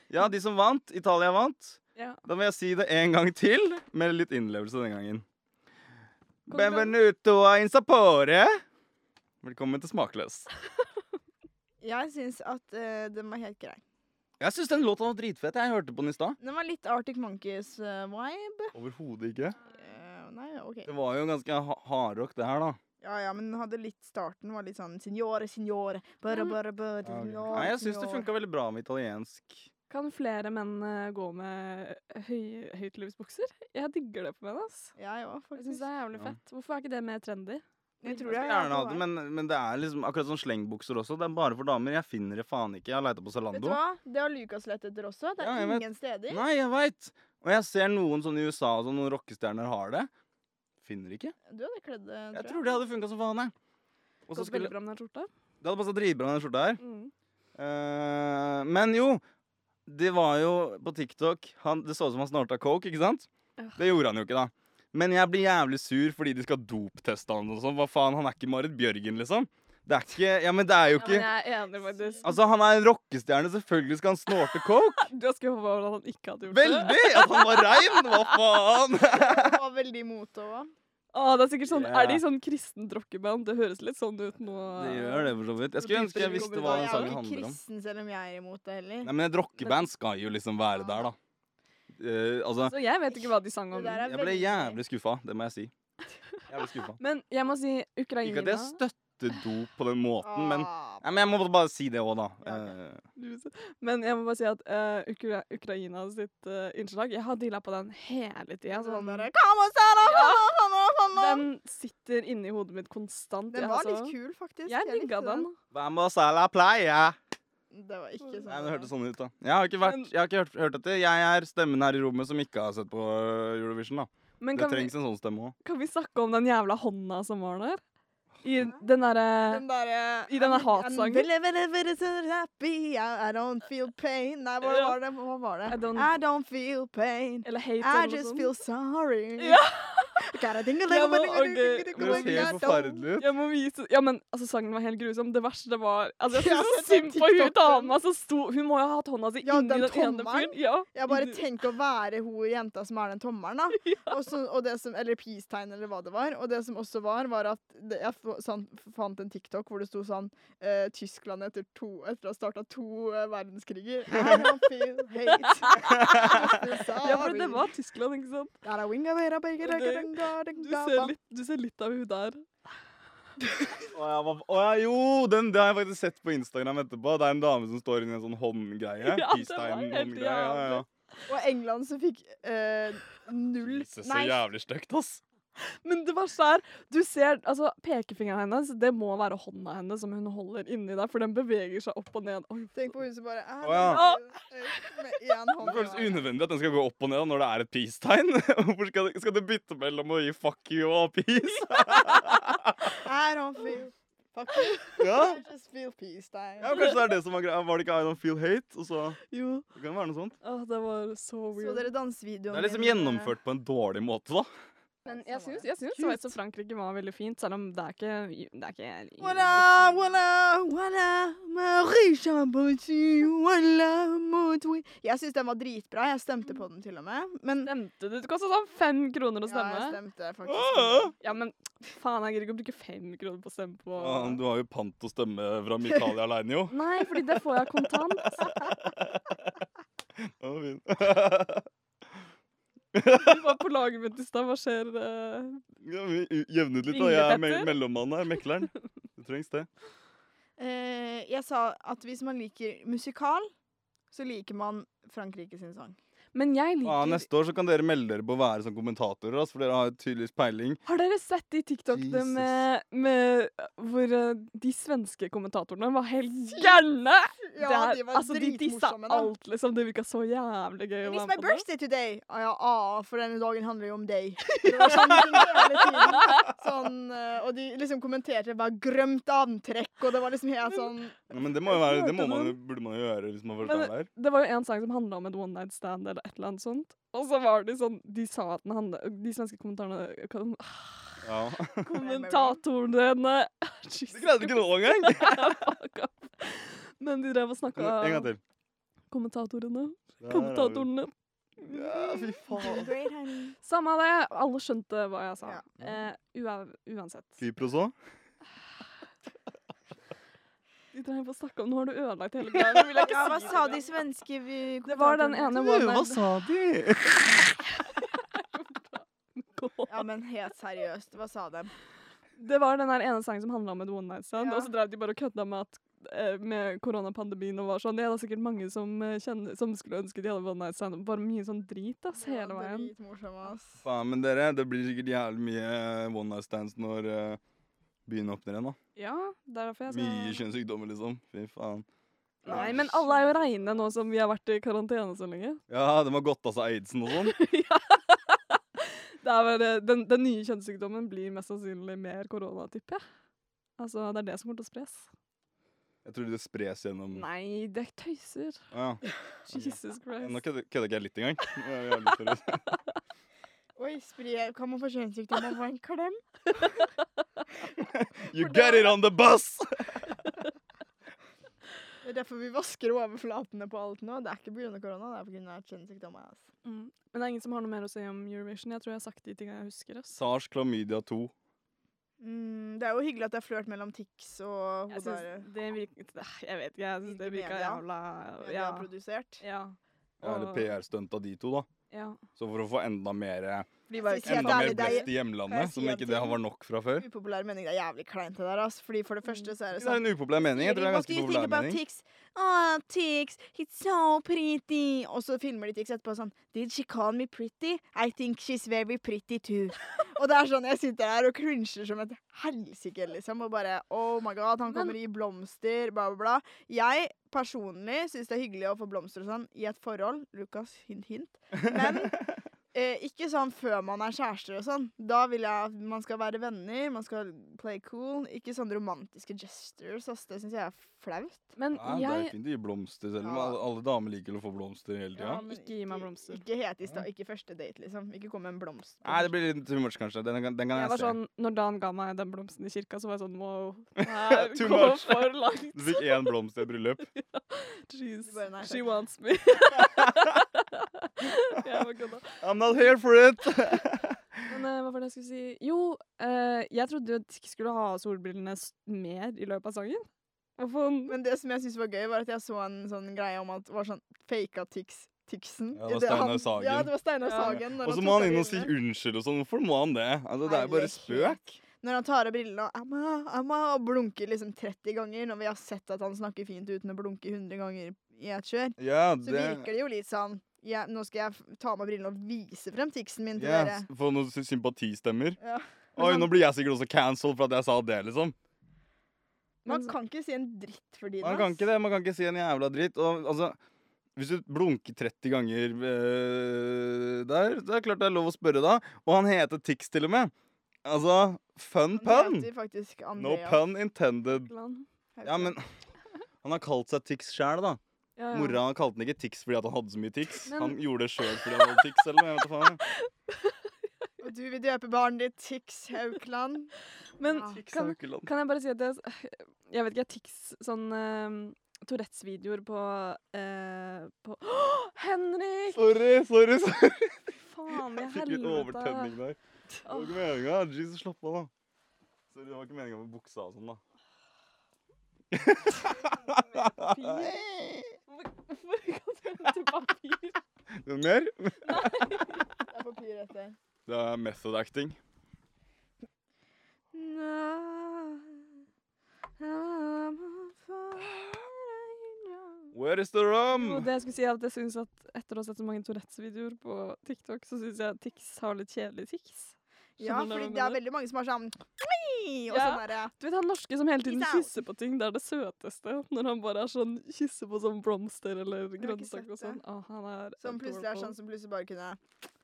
B: ja, de som vant. Italia vant.
A: Ja.
B: Da vil jeg si det en gang til, med litt innlevelse den gangen.
A: Konkurran-
B: Benvenuto a Insapore. Velkommen til Smakløs.
C: Jeg syns at eh, den var helt grei.
B: Jeg syns den låta var dritfett. Jeg hørte på den i stad.
C: Den var litt Arctic Monkeys-vibe.
B: Overhodet ikke.
C: Eh, nei, OK.
B: Det var jo ganske ha- hardrock, det her, da.
C: Ja, ja, men den hadde litt starten var litt sånn Signore, signore,
A: Mm.
C: bara, bara, bara, signore,
B: Nei, jeg syns det
C: signore».
B: funka veldig bra med italiensk.
A: Kan flere menn eh, gå med høy, høytlivsbukser? Jeg digger det på menn. ass.
C: Ja, ja,
A: Jeg syns
C: faktisk.
A: det er jævlig
B: Ja.
A: fett. Hvorfor er ikke det mer trendy?
C: Jeg tror
B: Jeg
C: jeg
B: skulle gjerne hatt det, men, men det er liksom akkurat sånn slengbukser også. Det er bare for damer. Jeg finner det faen ikke. Jeg har leita på
C: Vet du
B: Zalando.
C: hva? Det har Lukas lett etter også. Det
B: Ja,
C: er
B: jeg vet.
C: ingen steder.
B: Nei, jeg veit! Og jeg ser noen sånn i USA og sånn, noen rockestjerner har det. Finner ikke.
C: Du hadde kledd det,
B: Jeg tror det hadde funka som faen, jeg. Og så
A: Gått
B: skulle
A: veldig bra med den her skjorta.
B: Det hadde passa dritbra med den skjorta her.
A: Mm.
B: Eh, men jo, det var jo på TikTok han, Det så ut som han snorta coke, ikke sant?
A: Ja.
B: Det gjorde han jo ikke, da. Men jeg blir jævlig sur fordi de skal dopteste han og sånn. Hva faen, han er ikke Marit Bjørgen, liksom. Det er ikke Ja, men det er jo
A: Ja,
B: ikke
A: men jeg er enig, faktisk.
B: Altså, han er en rockestjerne, selvfølgelig skal han snorte coke.
A: Du er skuffa over at han ikke hadde gjort det?
B: Veldig! At han var rein, hva faen?
C: Jeg var veldig imot det òg.
A: Å, det er sikkert sånn,
B: Ja.
A: er de sånn kristent rockeband? Det høres litt sånn ut nå.
B: Det gjør det, for så vidt. Jeg skulle ønske jeg visste hva
C: Jeg
B: den
C: er
B: sangen
C: jo ikke
B: handler om.
C: kristen selv om jeg er imot det heller.
B: Nei, men et rockeband skal jo liksom være der, da. Eh, altså,
A: Så jeg vet ikke hva de sang om.
C: Det der er
B: jeg ble
C: veldig-
B: jævlig skuffa, det må jeg si. Jævlig skuffa.
A: Men jeg må si
B: Ikke
A: Ukraina
B: at jeg støtter dop på den måten, men
C: Ah,
B: Nei, men jeg må bare si det òg, da.
C: Ja, ok.
B: Eh,
A: Men jeg må bare si at eh, Ukra Ukraina sitt eh, innslag Jeg har deala på den hele tida.
C: sånn
A: Sånn,
C: der, «Kom og se da,
A: Ja.
C: kom og se da, kom og se da!»
A: den sitter inni hodet mitt konstant.
C: Den
A: jeg,
C: var
A: altså.
C: litt sånn. kul, faktisk.
A: Jeg digga
C: likte
A: den.
B: Vamos a la playa.
C: Det var ikke sånn.
B: Nei, men Det hørtes sånn ut, da. Jeg har ikke, vært, jeg har ikke hørt, hørt etter. Jeg er stemmen her i rommet som ikke har sett på eh, Eurovision, da.
A: Men
B: Det
A: kan vi,
B: trengs en sånn stemme òg.
A: kan vi snakke om den jævla hånda som var der? I den derre
C: Den derre
A: I denne hatsangen.
C: happy, I I don't feel pain. Nei, hva
A: Ja.
C: var det? Hva var det?
A: I don't-
C: I don't feel pain.
A: Eller hate
C: I
A: eller noe
C: just
A: sånt.
C: feel sorry.
A: Ja. Jeg må- ok,
B: Det
A: men
B: ser helt forferdelig ut.
A: Jeg må vise Ja, men altså, sangen var helt grusom. Det verste var Altså, jeg
C: Jeg har
A: synes så
C: sett den
A: synd på hun
C: TikTok-en.
A: dama som sto Hun må jo ha hatt hånda si
C: Ja,
A: inni
C: den
A: den ene
C: tommelen.
A: fyren. Ja.
C: Jeg bare
A: inni-
C: tenker å være hun jenta som har den tommelen, da. Og så, og det som, eller peace-tegn, eller hva det var. Og det som også var, var at det, jeg f- sånn, fant en TikTok hvor det sto sånn eh, Tyskland etter, to, etter å ha starta to eh, verdenskriger. I don't feel hate.
A: ja, for det var Tyskland, ikke sant? Du ser litt, du ser litt av hun der.
B: Å ja, hva- å ja, jo, den, det har jeg faktisk sett på Instagram etterpå. Det er en dame som står inni en sånn håndgreie.
A: Ja, det var helt
B: Peace-tegn-håndgreie. Ja, ja.
C: Og England som fikk eh, null
B: Jesus, så
C: Nei,
B: jævlig stygt, ass.
A: Men det verste er Du ser altså pekefingeren hennes. Det må være hånda hennes som hun holder inni der, for den beveger seg opp og ned. Oi.
C: tenk på hun som bare eh,
B: Å ja.
C: eh, Med én hånd.
B: Det føles
C: i været.
B: unødvendig at den skal gå opp og ned når det er et peace-tegn. Hvorfor skal, det- skal det bytte mellom å gi fuck you og peace?
C: I don't feel Fuck you.
B: Ja.
C: I just feel peace,
B: ja,
C: deg.
B: Kanskje det er det som var greia. Var det ikke I don't feel hate? Og så
A: Jo.
B: det kan være noe sånt.
A: Ah, det var så
C: Så
A: weird.
C: dere dansevideoen
B: Det er liksom
C: min, eh,
B: gjennomført på en dårlig måte, da.
A: Men
C: sånn
A: jeg
C: var
A: syns,
C: det.
A: jeg syns Sveits og Frankrike var veldig fint, selv om det er ikke Det er ikke
C: Voilà, voilà, voilà, Marie Chambosi, voilà, mot we- Jeg syns den var dritbra. Jeg stemte på den til og med. Men
A: Stemte du? Det kosta sånn fem kroner å
C: Ja, jeg
A: stemme.
C: stemte faktisk.
B: Åh!
C: på den.
A: Ja, men faen, jeg gidder ikke å bruke fem kroner på å stemme på
B: Ja, du har jo pant å stemme fra Mikalia aleine, jo.
A: Nei, fordi det får jeg kontant.
B: Det var fint.
A: Du var på laget mitt i stad. Hva skjer? eh?
B: Ja, vi Jevne ut litt, da. Jeg er me
A: Ynglepetter.
B: mellommannen her. Mekleren. Det trengs, det.
C: Eh, jeg sa at hvis man liker musikal, så liker man Frankrike sin sang.
A: Men jeg
B: Ja,
A: liker
B: neste år så kan dere melde dere på å være som kommentatorer, ass, for dere har jo tydeligvis peiling.
A: Har dere sett de TikTokene
B: Jesus.
A: med, med Hvor eh, de svenske kommentatorene var helt gærne! Det er- altså, de dissa alt, liksom. Det virka så jævlig gøy. å
C: It's
A: være
C: my
A: med på det.
C: birthday today! Ah, ja, ah, for denne dagen handler jo om deg. Det var sånn, hele tiden. sånn eh, Og de liksom kommenterte hver grømt antrekk, og det var liksom helt sånn
B: Ja, men det må jo være, det må
A: hørte
B: man, jo-
A: noen-
B: burde man jo gjøre hvis man først
A: Men-
B: er der.
A: Det var jo en sang som handla om et one night stand eller et eller annet sånt. Og så var det sånn De sa at den handla De svenske kommentarene kom,
B: Ja.
A: Kommentatorene
B: Det greide ikke nå engang!
A: Fuck off. Men de drev og snakka
B: En gang til.
A: Kommentatorene.
B: Der har vi-
A: Kommentatorene.
B: Ja, fy faen.
A: Samme det. Alle skjønte hva jeg sa.
C: Ja.
A: Eh, ua- uansett.
B: Kypros òg?
A: De drev og snakka om Nå har du ødelagt hele greia. Nå vil jeg
C: Ja,
A: ikke
C: hva
A: si
C: sa
A: det.
C: de svenske vi-
A: Det var den ene one
B: Hva
A: night
B: sa de?
C: Ja, men helt seriøst, hva sa de?
A: Det var den der ene sangen som handla om et one night stand,
C: Ja.
A: og så drev de bare og kødda med at eh, med koronapandemien og var sånn Ja, det er sikkert mange som, eh, kjenner, som skulle ønske de hadde one night stand. Bare mye sånn drit ass, hele veien.
C: Dritmorsom, ass.
B: Faen, men dere, det blir sikkert jævlig mye eh, one night stands når eh, byen åpner igjen, da.
A: Ja, det er derfor jeg
B: Mye
A: sa
B: kjønnssykdommer, liksom. Fy faen.
A: Nei, men alle er jo reine nå som vi har vært i karantene så lenge.
B: Ja, de har godt av seg aidsen og sånn.
A: Det er bare, den, den nye kjønnssykdommen blir mest sannsynlig mer korona, tipper jeg. Altså, det er det som kommer til å spres.
B: Jeg tror det spres gjennom
A: Nei, det er tøyser.
B: Ja.
A: Jesus
B: Nå
A: Christ.
B: kødder kødder ikke jeg litt engang. Nå er jeg jævlig seriøs.
C: Oi, spre, kan man få kjønnssykdom av å få en klem?
B: You get it on the bus!
C: Det er derfor vi vasker overflatene på alt nå. Det er ikke pga. korona, det er pga. kjønnssykdommer. ass.
A: Mm. Men det er ingen som har noe mer å si om Eurovision. Jeg tror jeg har sagt de tingene jeg husker. Ass.
B: Sars klamydia 2.
C: Mm, det er jo hyggelig at det er flørt mellom tics og
A: Jeg
C: Hodare.
A: syns det virker Jeg vet ikke, jeg syns det
C: Virker
A: virka
C: media.
A: jævla
C: Det
A: Ja.
C: er produsert.
A: ja,
B: Det er et
A: Og-
B: PR-stunt av de to, da.
A: ja.
B: Så for å få enda mer, eh,
C: Vi var jo
B: enda
C: ikke helt
B: mer
C: ærlige. Det
B: blest
C: er
B: i
C: Kan jeg
B: hjemlandet,
C: si
B: som
C: en
B: ikke det
C: ting?
B: var nok fra før.
C: en upopulær mening. Det er jævlig kleint det der, ass. Fordi for det første så er det
B: Det er
C: sånn
B: en upopulær mening. Jeg tror det er en
C: What do
B: ganske
C: you think
B: populær
C: about
B: mening.
C: tics? Oh, tics, it's so pretty. Og så filmer de tics etterpå sånn Did she call me pretty? I think she's very pretty too. og det er sånn, jeg sitter her og crincher som et helsike, liksom. Og bare Oh my god, han kommer i blomster, bla, bla, bla. Jeg personlig syns det er hyggelig å få blomster og sånn i et forhold. Lukas, hint, hint. Men Eh, ikke sånn før man er kjærester og sånn. Da vil jeg at man skal være venner, man skal play cool. Ikke sånne romantiske gestures. Ass. Det syns jeg er flaut.
A: Men
B: Ja, det er
A: jeg
B: fint å gi blomster selv om
C: Ja.
B: alle, alle damer liker å få blomster hele tida.
C: men
A: Ikke gi meg blomster.
C: Ikke helt i stad. Ikke første date, liksom. Ikke kom med en blomst. på
B: Nei, det blir litt too much, kanskje. Den, kan- den kan
A: jeg
B: jeg,
A: var
B: se.
A: sånn, Når Dan ga meg den blomsten i kirka, så var jeg sånn Wow, det her
B: Too
A: går
B: much.
A: for langt.
B: Du
C: "Sånn."
B: fikk én blomst i et bryllup.
A: Jeez.
C: Du bare, nei,
A: She
C: takk.
A: wants me. jeg bare kødda.
B: I'm not here for it!
C: Sånn
A: Men eh, hva var det jeg skulle si? Jo, eh, jeg trodde jo at jeg skulle ha solbrillene s- mer i løpet av sangen. Hvorfor
C: Men det som jeg syntes var gøy, var at jeg så en sånn greie om at det var sånn faka tics. Tixen.
B: Ja, det var
C: I han-
B: Steinar Sagen.
C: Ja, det var Steinar
A: Ja.
C: Sagen. når
B: Og så
C: han
B: må
C: tok
B: han
C: av
B: inn og si
C: brillene.
B: unnskyld og sånn. Hvorfor må han det? Altså, det er jo bare
C: Herregud.
B: spøk.
C: Når han tar av brillene og Emma, Emma, og blunker liksom 30 ganger, når vi har sett at han snakker fint uten å blunke 100 ganger i et kjør,
B: Ja,
C: så
B: det
C: virker det jo litt sånn ja, Nå skal jeg f- ta av meg brillene og vise frem tiksen min til
B: ja,
C: dere.
B: Få noen sy- sympatistemmer.
C: Ja.
B: Oi,
C: Men
B: nå blir jeg sikkert også cancelled for at jeg sa det, liksom.
C: Man kan ikke si en dritt for din,
B: Man kan ikke det, man kan ikke si en jævla dritt. Og altså, hvis du blunker 30 ganger eh, der, så er det klart det er lov å spørre da. Og han heter Tix til og med. Altså, fun
C: Han
B: pun!
C: heter faktisk
B: No
C: Andrea.
B: pun intended.
A: Plan.
C: Haugland.
B: Ja, men han har kalt seg Tix sjæl, da.
A: Ja, ja.
B: Mora kalte han ikke Tix fordi at han hadde så mye Tix.
A: Men-
B: Han gjorde det sjøl fordi han hadde Tix. Eller noe, jeg vet da faen.
C: Og du vil døpe barnet ditt Tix Haukland.
A: Men
C: Ja.
B: Tix
A: Ah, kan,
B: Haukeland.
A: kan jeg bare si at jeg, s- jeg vet ikke, jeg tics sånn eh, Tourettes-videoer på, eh, på Åh, Henrik!
B: Sorry, sorry. sorry.
A: Faen i
B: Jeg fikk litt
A: helvete.
B: overtenning der. Det var ikke meninga. Jesus, slapp av, da. Sorry, det var ikke meninga med buksa og sånn, da.
A: Papir. Hvorfor kan du hente papir?
B: Noe mer?
C: Det er papir etter.
B: Det er method acting. Where is the
A: Jo,
B: rum?
A: det jeg skulle si er at jeg synes at etter å ha sett så mange Tourettes-videoer på TikTok, så syns jeg at tics har litt kjedelig tics.
C: Ja,
A: Skjønner du hva
C: fordi
A: jeg
C: det er
A: mener?
C: veldig mange som har sånn «Oi!» Og
A: Ja.
C: sånn derre
A: Du vet han norske som hele tiden
C: Peace out.
A: kysser på ting. Det er det søteste. Når han bare er sånn kysser på sånn blomster eller
C: ikke
A: grønnsak og
C: sett det.
A: sånn. Å, han er
C: Som plutselig er
A: adorable.
C: sånn som plutselig bare kunne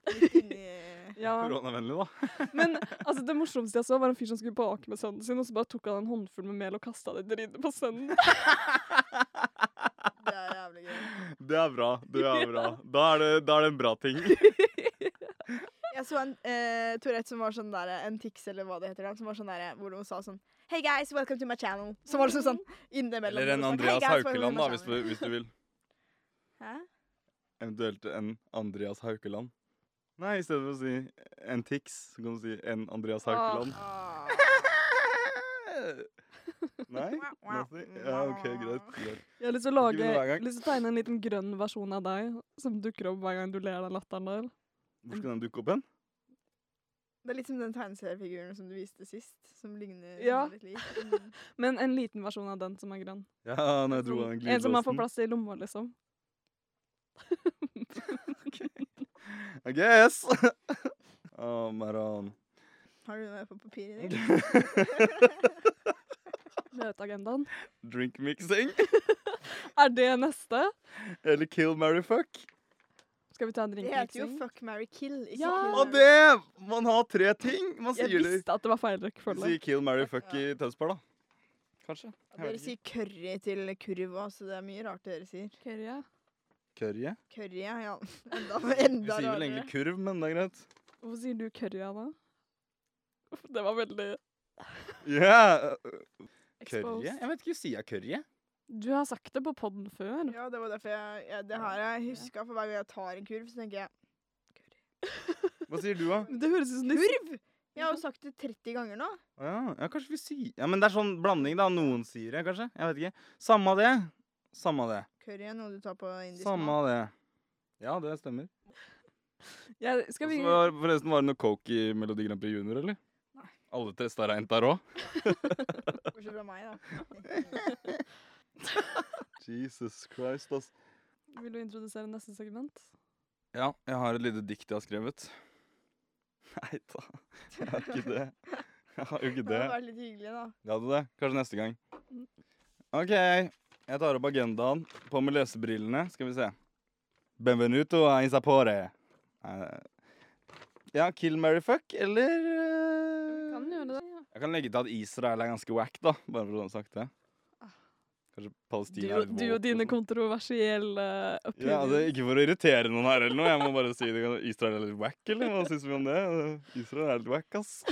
C: litt inni
A: Ja.
B: Koronavennlig, da.
A: Men altså, det morsomste jeg så, var en fyr som skulle bake med sønnen sin, og så bare tok han en håndfull med mel og kasta det dritet på sønnen.
C: Det er jævlig gøy.
B: Det er bra. Det er bra. Da er det, da er det en bra ting.
C: Jeg så en eh, Tourette som var sånn der En Tix, eller hva det heter, da, som var sånn der hvor hun sa sånn Hey guys, welcome to my channel. Så var det sånn, sånn innimellom.
B: Eller en
C: hvor hun sa,
B: Andreas
C: «Hey guys, welcome to
B: Haukeland,
C: my
B: da, hvis du,
C: channel».
B: hvis du vil.
C: Hæ?
B: Eventuelt en Andreas Haukeland. Nei, i stedet for å si en Tix, så kan du si en Andreas Haukeland.
A: Ah.
B: Nei? Nasty? Ja, OK, greit. greit.
A: Jeg har lyst til å
B: Ikke begynne hver
A: lage,
B: gang.
A: lyst til å tegne en liten grønn versjon av deg som dukker opp hver gang du ler den latteren der.
B: Hvor skal den dukke opp hen?
C: Det er litt som den tegneseriefiguren som du viste sist, som ligner
A: Ja.
C: som er litt lik. Mm.
A: Men en liten versjon av den som er grønn.
B: Ja, når jeg dro av
A: Sånn,
B: den
A: en som man får
B: glidelåsen.
A: plass til i lomma, liksom.
B: I guess. oh, Maran.
C: Har du noe på papiret ditt?
A: Møteagendaen.
B: Drink mixing
A: Er det neste?
B: eller kill, marry, fuck?
A: Skal vi ta en
C: Det heter jo
A: drinkmiksing?
C: Fuck, marry, kill. Ikke
A: Ja.
C: kill,
B: Og
C: Mary.
B: det! Man har tre ting. Man
A: Jeg
B: sier det.
A: visste at det var feil
B: Du
A: rekkefølge.
B: sier kill, marry, fuck i Tønsberg, da. Kanskje. Jeg
C: Dere
B: vet ikke.
C: sier curry til kurv òg, så det er mye rart dere sier.
A: Curry.
B: Curry. ja.
C: Curry, ja. ja. Enda,
B: Vi
C: enda
B: sier vel egentlig
C: rarere.
B: kurv, men det er greit.
A: Hvorfor sier du curry, Anna? Uff, Det var veldig
B: Yeah! Curry?
A: exposed.
B: øh, Jeg vet ikke, sier jeg curry?
A: Du har sagt det på poden før.
C: Ja, det var derfor jeg, jeg Det her har jeg huska, for hver gang jeg tar en kurv, så tenker jeg
B: Hva sier du, da?
A: Men Det høres ut som de
C: Kurv! Jeg har jo sagt det 30 ganger nå.
B: Å Ja, ja, kanskje vi sier Ja, men det er sånn blanding, da. Noen sier det, kanskje. Jeg vet ikke. Samme av det. Samme av det.
C: Curry er noe du tar på indisk
B: Samme
C: mat.
B: av det. Ja, det stemmer.
A: ja, Skal vi
B: Og så var- Forresten, var det noe coke i Melodi Grand Prix Junior, eller?
C: Nei.
B: Alle testa reint der òg?
C: Bortsett fra meg, da.
B: Jesus Christ, ass.
A: Vil du introdusere neste segment?
B: Ja, jeg har et lite dikt jeg har skrevet. Nei da, jeg har ikke det. Jeg har jo ikke
C: Det hadde
B: det.
C: vært litt hyggelig, da.
B: Jeg hadde det. Kanskje neste gang. OK, jeg tar opp agendaen. På med lesebrillene, skal vi se. Benvenuto a Insapore. Eh, Ja, kill, marry, fuck, eller
A: Vi
B: eh,
A: Kan gjøre det. Ja.
B: Jeg kan legge til at Israel er ganske wack, da. Bare for å ha sagt det. Kanskje
A: Du,
B: Palestina
A: og- du og dine kontroversielle opinioner.
B: sånn. Ja, altså, Ikke for å irritere noen her, eller noe. Jeg må bare si det. Israel er litt wack, eller? Hva syns vi om det? Israel er litt wack, ass.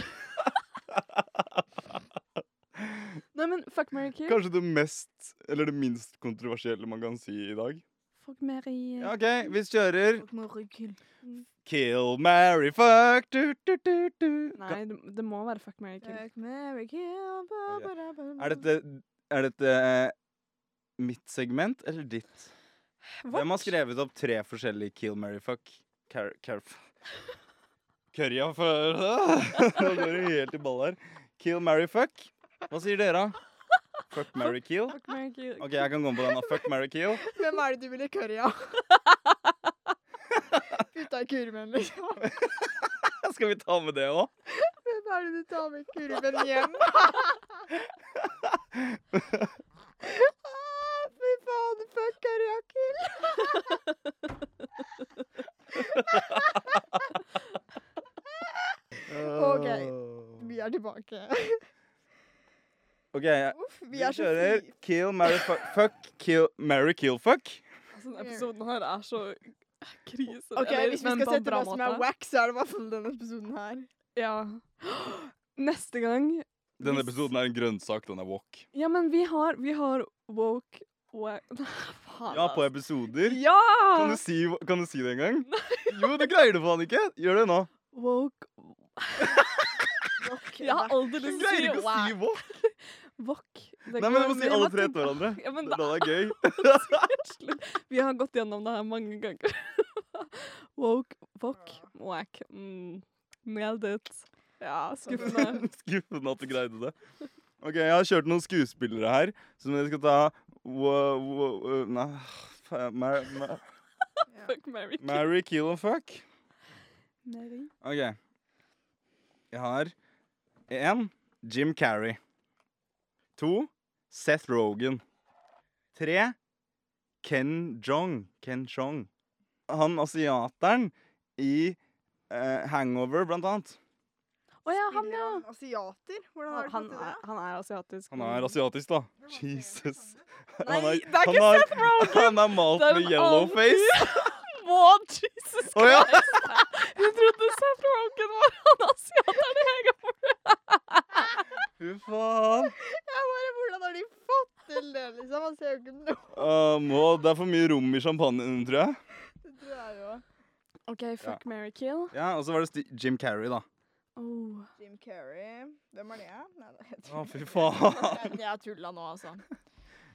A: Nei, men fuck, marry, kill.
B: Kanskje det mest, eller det minst kontroversielle man kan si i dag.
A: Fuck, marry
B: Ja, OK, vi kjører
D: Morgenkull.
B: Kill, marry, fuck du, du, du, du.
A: Nei, det, det må være fuck, marry, kill.
C: Fuck, marry, kill, ba, ba, da, ba, da.
B: Er dette, er dette eh, mitt segment eller ditt? Hvem har skrevet opp tre forskjellige Kill Mary Fuck? Car car Kørja før Nå går det helt i ball her. Kill Mary Fuck. Hva sier dere? Fuck Mary Kill?
A: Fuck, marry, kill.
B: OK, jeg kan gå med på den. da. Fuck Mary Kill.
C: Hvem er det du ville curry av? Putta i kurven, liksom.
B: Skal vi ta med det òg?
C: Hvem er det du tar med kurven hjem? Ah, Fy faen, fuck curry av kill. Vi er tilbake.
B: OK, jeg-
C: Uff, vi
B: vi
C: er så
B: kjører
C: fri.
B: Kill Mary Fuck, fuck Kill Mary Kill Fuck.
A: Altså, denne episoden her er så krise.
C: Ok,
A: Eller,
C: Hvis vi
A: men
C: skal
A: på en
C: sette
A: bra
C: hva som er
A: måte.
C: wack, så er det i hvert fall denne episoden her.
A: Ja. Neste gang
B: Denne
A: Hvis-
B: episoden er en grønnsak. Den er walk.
A: Ja, men vi har, vi har woke wack Faen,
B: Ja, på
A: altså.
B: episoder. Kan
A: Ja!
B: du si, kan du si det en gang? Jo, du greier det faen ikke! Gjør det nå.
A: Woke
C: Fuck,
A: Jeg har
C: wack.
A: aldri
B: Du
A: lyst til å
B: greier
A: si
B: ikke å
A: wack.
B: si walk.
A: Wok. Det
B: Nei, men
A: går-
B: du må si
A: vi
B: alle
A: har
B: tre
A: gått-
B: etter hverandre.
A: Ja, men
B: Da er det gøy.
A: Slutt. Vi har gått gjennom det her mange ganger. Woke, wok, wack. Mm. Nailed it. Ja, skuffende.
B: Skuffende at du greide det. Ok, Jeg har kjørt noen skuespillere her, som dere skal ta wo- wo- wo- Nei fa- mar- ma-
A: Fuck, marry, kill.
B: Marry, kill and fuck.
A: Marry.
B: Ok. Jeg har én Jim Carrey. To Seth Rogan. Tre Ken Jong. Ken Chong. Han asiateren i eh, Hangover, blant annet.
A: Å ja, han ja.
C: Asiater? Hvordan har
A: Han, han,
C: du fått til det?
A: er, han er asiatisk.
B: Han er asiatisk, da.
C: Det var
B: Jesus.
A: Mm. Nei,
B: er-
A: det er ikke
B: har-
A: Seth Rogen!
B: Han er malt
A: Det er
B: med
A: en
B: yellow
A: annen
B: face.
A: Wow, Jesus
B: Å, ja.
A: Christ! Jeg trodde Seth Rogen var han asiateren i Hegaport.
B: Fy faen.
C: Jeg bare, Hvordan har de fått til det, liksom? Han ser jo ikke noe
B: Ah, må, det er for mye rom i champagnen, tror jeg.
C: Det tror jeg jo.
A: OK, fuck, marry, kill.
B: Ja, Og så var det Sti- Jim Carrey, da.
A: Oh.
C: Jim Carrey. Hvem er det? Nei, det jeg
B: Å, fy
C: tuller.
B: faen.
C: Jeg- Jeg tulla nå, altså.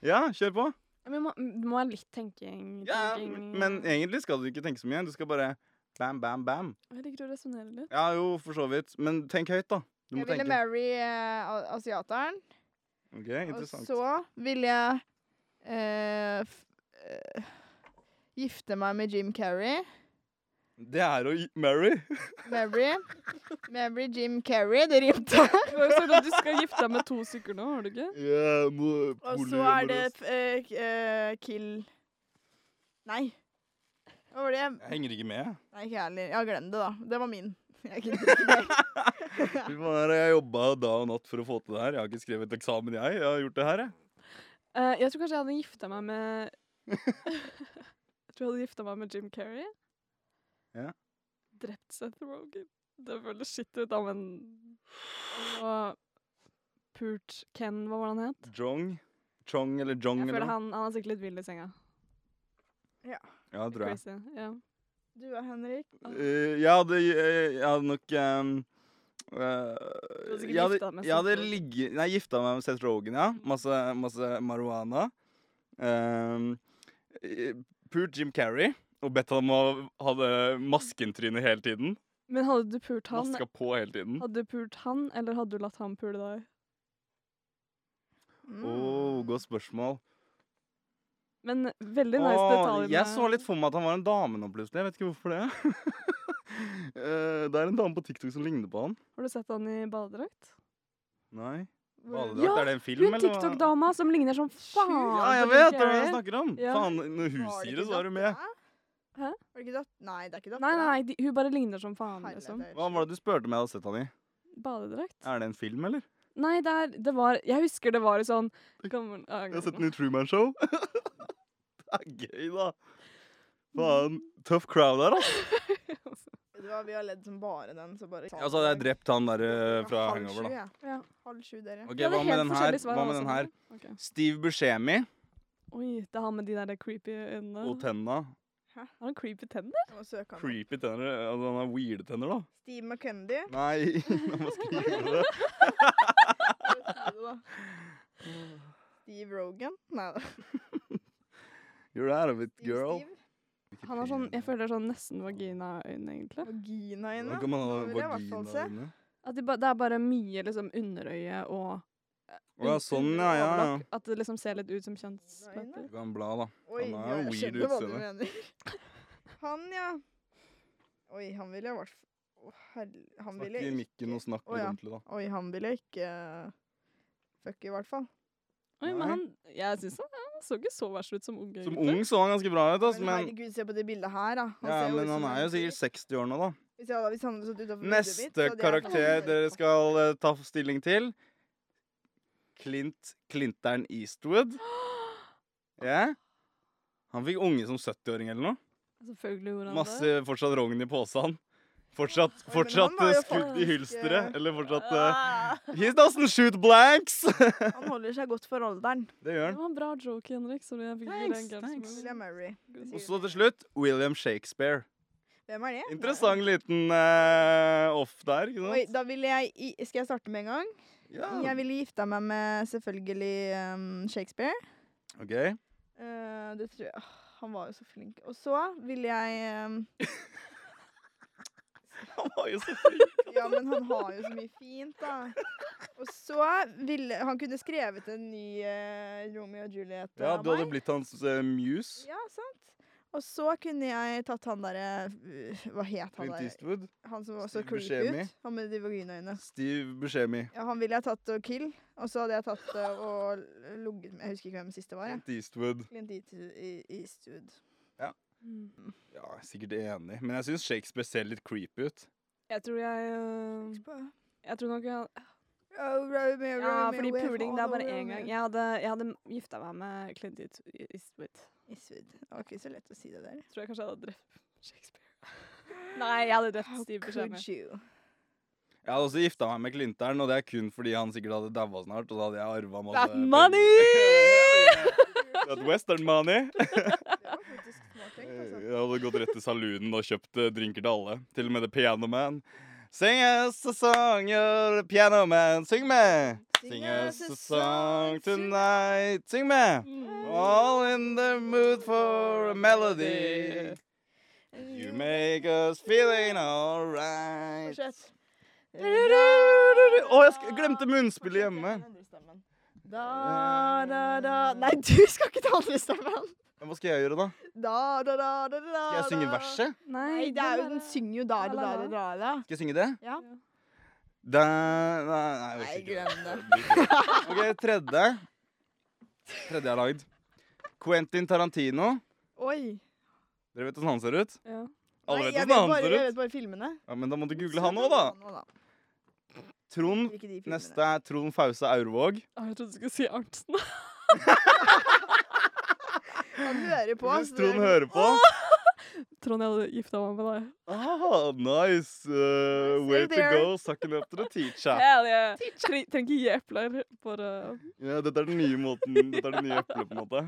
B: Ja, kjør på.
A: Men må, må ha litt tenking.
B: Ja,
A: tenking.
B: men egentlig skal du ikke tenke så mye. Du skal bare bam, bam, bam.
A: Jeg liker å resonnere litt.
B: Ja, jo, for så vidt. Men tenk høyt, da. Du må
C: Jeg ville
B: tenke.
C: marry eh, a- asiateren.
B: Ok,
C: Og
B: interessant.
C: så ville jeg eh, f eh, gifte meg med Jim Carrey.
B: Det er å gi- marry.
C: Marry. Marry Jim Carrey. Det rimte.
A: Du har jo sagt at du skal gifte deg med to stykker nå, har du ikke?
B: Yeah, mo-
C: Og så er det
B: polyamorøst.
C: eh, k- eh, kill Nei. Hva var det?
B: Jeg henger ikke med.
C: Nei, ikke jeg heller. Ja, glem det, da. Det var min. Jeg gidder ikke mer.
B: Fy faen, Jeg jobba dag og natt for å få til det her. Jeg har ikke skrevet eksamen, jeg. Jeg har gjort det her, jeg.
A: Eh, jeg tror kanskje jeg hadde gifta meg med Jeg tror jeg hadde gifta meg med Jim Carrey.
B: Ja.
A: Drept Seth Rogan. Det føles shit ut, da, men Og pult Ken, hva var det han het?
B: Jong. Chong eller Jong
A: Jeg
B: eller
A: føler
B: noe.
A: han, han er sikkert litt vill i senga.
B: Ja, tror jeg.
A: Crazy. Ja.
C: Du og Henrik.
B: Eh, jeg, hadde, eh, jeg hadde nok ehm, eh,
A: hadde sikkert
B: jeg, hadde,
A: gifta deg med
B: jeg hadde
A: Seth Mm. Rogen.
B: ligget Nei, gifta meg med Seth Rogan, ja. Masse, masse marihuana. Ehm, eh, Pult Jim Carrey og bedt ham om å ha det maskentrynet hele tiden.
A: Men hadde du pult han?
B: Maska på hele tiden.
A: Hadde du pult han, eller hadde du latt han pule deg?
C: Mm.
B: Oh, godt spørsmål.
A: Men veldig nice
B: Åh,
A: detaljer.
B: jeg
A: med-
B: så litt for meg at han var en dame nå plutselig. Jeg vet ikke hvorfor det. Eh, det er en dame på TikTok som ligner på han.
A: Har du sett han i badedrakt?
B: Nei.
C: Hvor-
B: Badedrakt,
A: Ja,
B: er det en film,
A: Hun
B: eller hva?
A: TikTok-dama som ligner som faen
B: Ja, jeg
A: på Jim
B: vet det er hva
A: Carrey.
B: jeg snakker om!
A: Ja.
B: Faen, når hun
C: Var det
B: sier
C: ikke
B: det, så er du med.
C: datteren?
A: Hæ?
C: Var det ikke datt? Nei, det er ikke datt.
A: Nei, nei, nei de, hun bare ligner som faen,
C: Herlighet,
A: liksom.
C: det er
B: Hva var det du spurte om jeg hadde sett han i?
A: Badedrakt.
B: Er det en film, eller?
A: Nei, det, er, det var Jeg husker det var i sånn gammel ja,
B: Jeg har sett
A: gammel.
B: den i Truman Show. det er gøy, da. Faen. Tøff crowd her, altså.
C: Det var vi har ledd som bare den, så bare
B: Altså, jeg drept han der eh, fra
C: Halv
B: Hangover,
C: sju,
B: da.
C: ja.
A: Ja.
C: Halv sju, dere.
B: Ok,
A: Ja, det er
B: Hva med
A: helt
B: den her?
A: forskjellige svar,
B: Hva med
A: alle
B: den her?
C: sånn.
A: sammen. Ok.
B: Steve Buscemi
A: Oi, det er han med de der creepy
C: Ah.
B: og
A: øynene.
B: tenna.
A: Har han creepy tenner?
C: Jeg må søke han.
B: Creepy tenner. Altså, han har weirde tenner, da.
C: Steve McKendy.
B: Nei, han må skrive det.
C: Steve Rogan. Nei da.
B: You're out of it,
C: Steve
B: girl.
C: Steve.
A: Han har sånn, jeg føler sånn nesten vaginaøyne, egentlig.
B: Nå
C: Vagina inne.
B: kan man ha
C: Da vil jeg i hvert fall se.
B: vaginaøyne.
A: At det, ba, det er bare mye liksom underøye og
B: Å ja, sånn, ja, ja. ja.
A: overlock, At det liksom ser litt ut som kjønnslepper.
C: Øyne?
B: Du kan bla, da.
C: Oi,
B: Han er
C: ja, jeg
B: weird
C: skjønner hva du
B: utseende.
C: mener. Han, ja. Oi, han ville jeg vært Å, herre... Han
B: Snakk
C: ville
B: i
C: jeg
B: mikken og snakk
C: Å,
B: litt
C: ja.
B: ordentlig, da.
C: Oi, han ville jeg ikke fucke, i hvert fall.
A: Oi,
B: Nei.
A: men han, jeg synes han, han så ikke så verst ut som ung.
B: Som
A: egentlig.
B: ung så han ganske bra ut, ass,
C: Mm. Men
B: men
C: herregud, se på det bildet her, da.
B: ja,
C: ser ut
B: men han
C: som en
B: er jo
C: vampyr.
B: sikkert 60 år nå, da.
C: Hvis jeg hadde, hvis han hadde stått utenfor vinduet mitt, så
B: Neste
C: hadde jeg
B: karakter
C: fått-
B: dere skal eh, ta stilling til Clint Clintern Eastwood. Ja. Han fikk unge som 70-åring eller noe.
A: Selvfølgelig gjorde han det.
B: Masse fortsatt rogn i posen. Fortsatt,
C: men
B: fortsatt
C: han var jo
B: eh, skudd i
C: faktisk,
B: hylsteret.
C: eh,
B: Eller fortsatt eh,
C: Ah,
B: He doesn't shoot blanks!
C: Han holder seg godt for alderen.
B: det gjør
A: Det
B: han.
A: var en bra joke, Henrik. Sorry, jeg fikk
B: Thanks,
A: ikke
B: thanks.
C: William Murray.
B: Og så til slutt William Shakespeare.
C: Hvem er det?
B: Interessant liten eh, off der, ikke
C: Oi,
B: sant?
C: da ville jeg i- Skal jeg starte med en gang?
B: Ja.
C: Jeg ville gifta meg med selvfølgelig ehm, Shakespeare.
B: OK.
C: Eh, det tror jeg Åh, Han var jo så flink. Og så ville jeg ehm,
B: Han var jo så flink.
C: Ja, men han har jo så mye fint, da. Og så ville Han kunne skrevet en ny eh, Romeo og Juliet
B: Ja,
C: av
B: du hadde
C: meg.
B: blitt hans eh, muse.
C: Ja, sant. Og så kunne jeg tatt han derre øh, Hva het han
B: Clint
C: der?
B: Eastwood.
C: Han som var så
B: Steve
C: creepy
B: Buscemi.
C: ut. Han med de vaginaøynene.
B: Steve Buscemi.
C: Ja, han ville jeg tatt og kill, og så hadde jeg tatt eh, og ligget med Jeg husker ikke hvem siste var. jeg.
B: Clint Eastwood.
C: Clint Eastwood- i- Eastwood.
A: Mm.
B: Ja, jeg er sikkert enig. Men jeg syns Shakespeare ser litt creepy ut.
A: Jeg tror jeg øh, Jeg tror nok jeg
C: Oh, Romeo,
A: Ja,
C: Romeo,
A: fordi
C: where
A: puling, det er
C: father
A: bare én
C: Romeo?
A: gang. Jeg hadde, jeg hadde gifta meg med Clint East- Eastwood.
C: Eastwood. Det var ikke så lett å si det der.
A: Tror jeg kanskje jeg hadde drept Shakespeare. Nei, jeg hadde drept
C: How
A: Steve
C: could
A: Buscemi.
C: you?
B: Jeg hadde også gifta meg med Clintern, og det er kun fordi han sikkert hadde daua snart. Og da hadde jeg arva masse
A: That
B: penger.
A: money!
B: That western money.
C: Det var faktisk smart tenkt, altså.
B: Jeg hadde gått rett til saloonen og kjøpt eh, drinker til alle. Til og med The Piano Man. Sing us a song, you're a piano man. Syng med! Sing us a song tonight. Syng med!
C: Mm.
B: All in the mood for a melody.
C: Mm.
B: You make us feeling alright.
C: Fortsett.
B: Å, jeg sk- glemte munnspillet hjemme.
C: Fortsett med den andre stemmen. Da, da, da Nei, du skal ikke ta andre stemmen!
B: Men Hva skal jeg gjøre, da?
C: Da, da, da, da, da.
B: Skal jeg synge
C: da.
B: verset?
C: Nei, det er jo, den synger jo da, da, da, da, da, da.
B: Skal jeg synge det?
C: Ja.
B: Da, nei, nei, jeg orker ikke.
C: glem det.
B: OK, tredje. Tredje jeg har lagd. Quentin Tarantino.
C: Oi.
B: Dere vet åssen han ser ut?
A: Ja.
B: Alle
C: Nei,
B: vet
C: jeg,
B: åssen
C: vet
B: han
C: bare,
B: ser
C: jeg
B: ut.
C: vet bare filmene.
B: Ja, Men da må du google han òg, da. Trond
C: Ikke de filmene.
B: Neste er Trond Fause Aurvåg.
A: Å, Jeg trodde du skulle si Arntzen.
C: Han hører på.
B: Hvis
C: så det er-
B: Trond hører på
A: Trond, jeg hadde gifta meg med deg.
B: ah, Nice! Uh, way to go, sucking up to the teacher.
A: Hell yeah. Tre- Trenger ikke gi epler. eh, Bare
B: Ja, dette er den nye måten. Dette er det nye eplet, på en måte.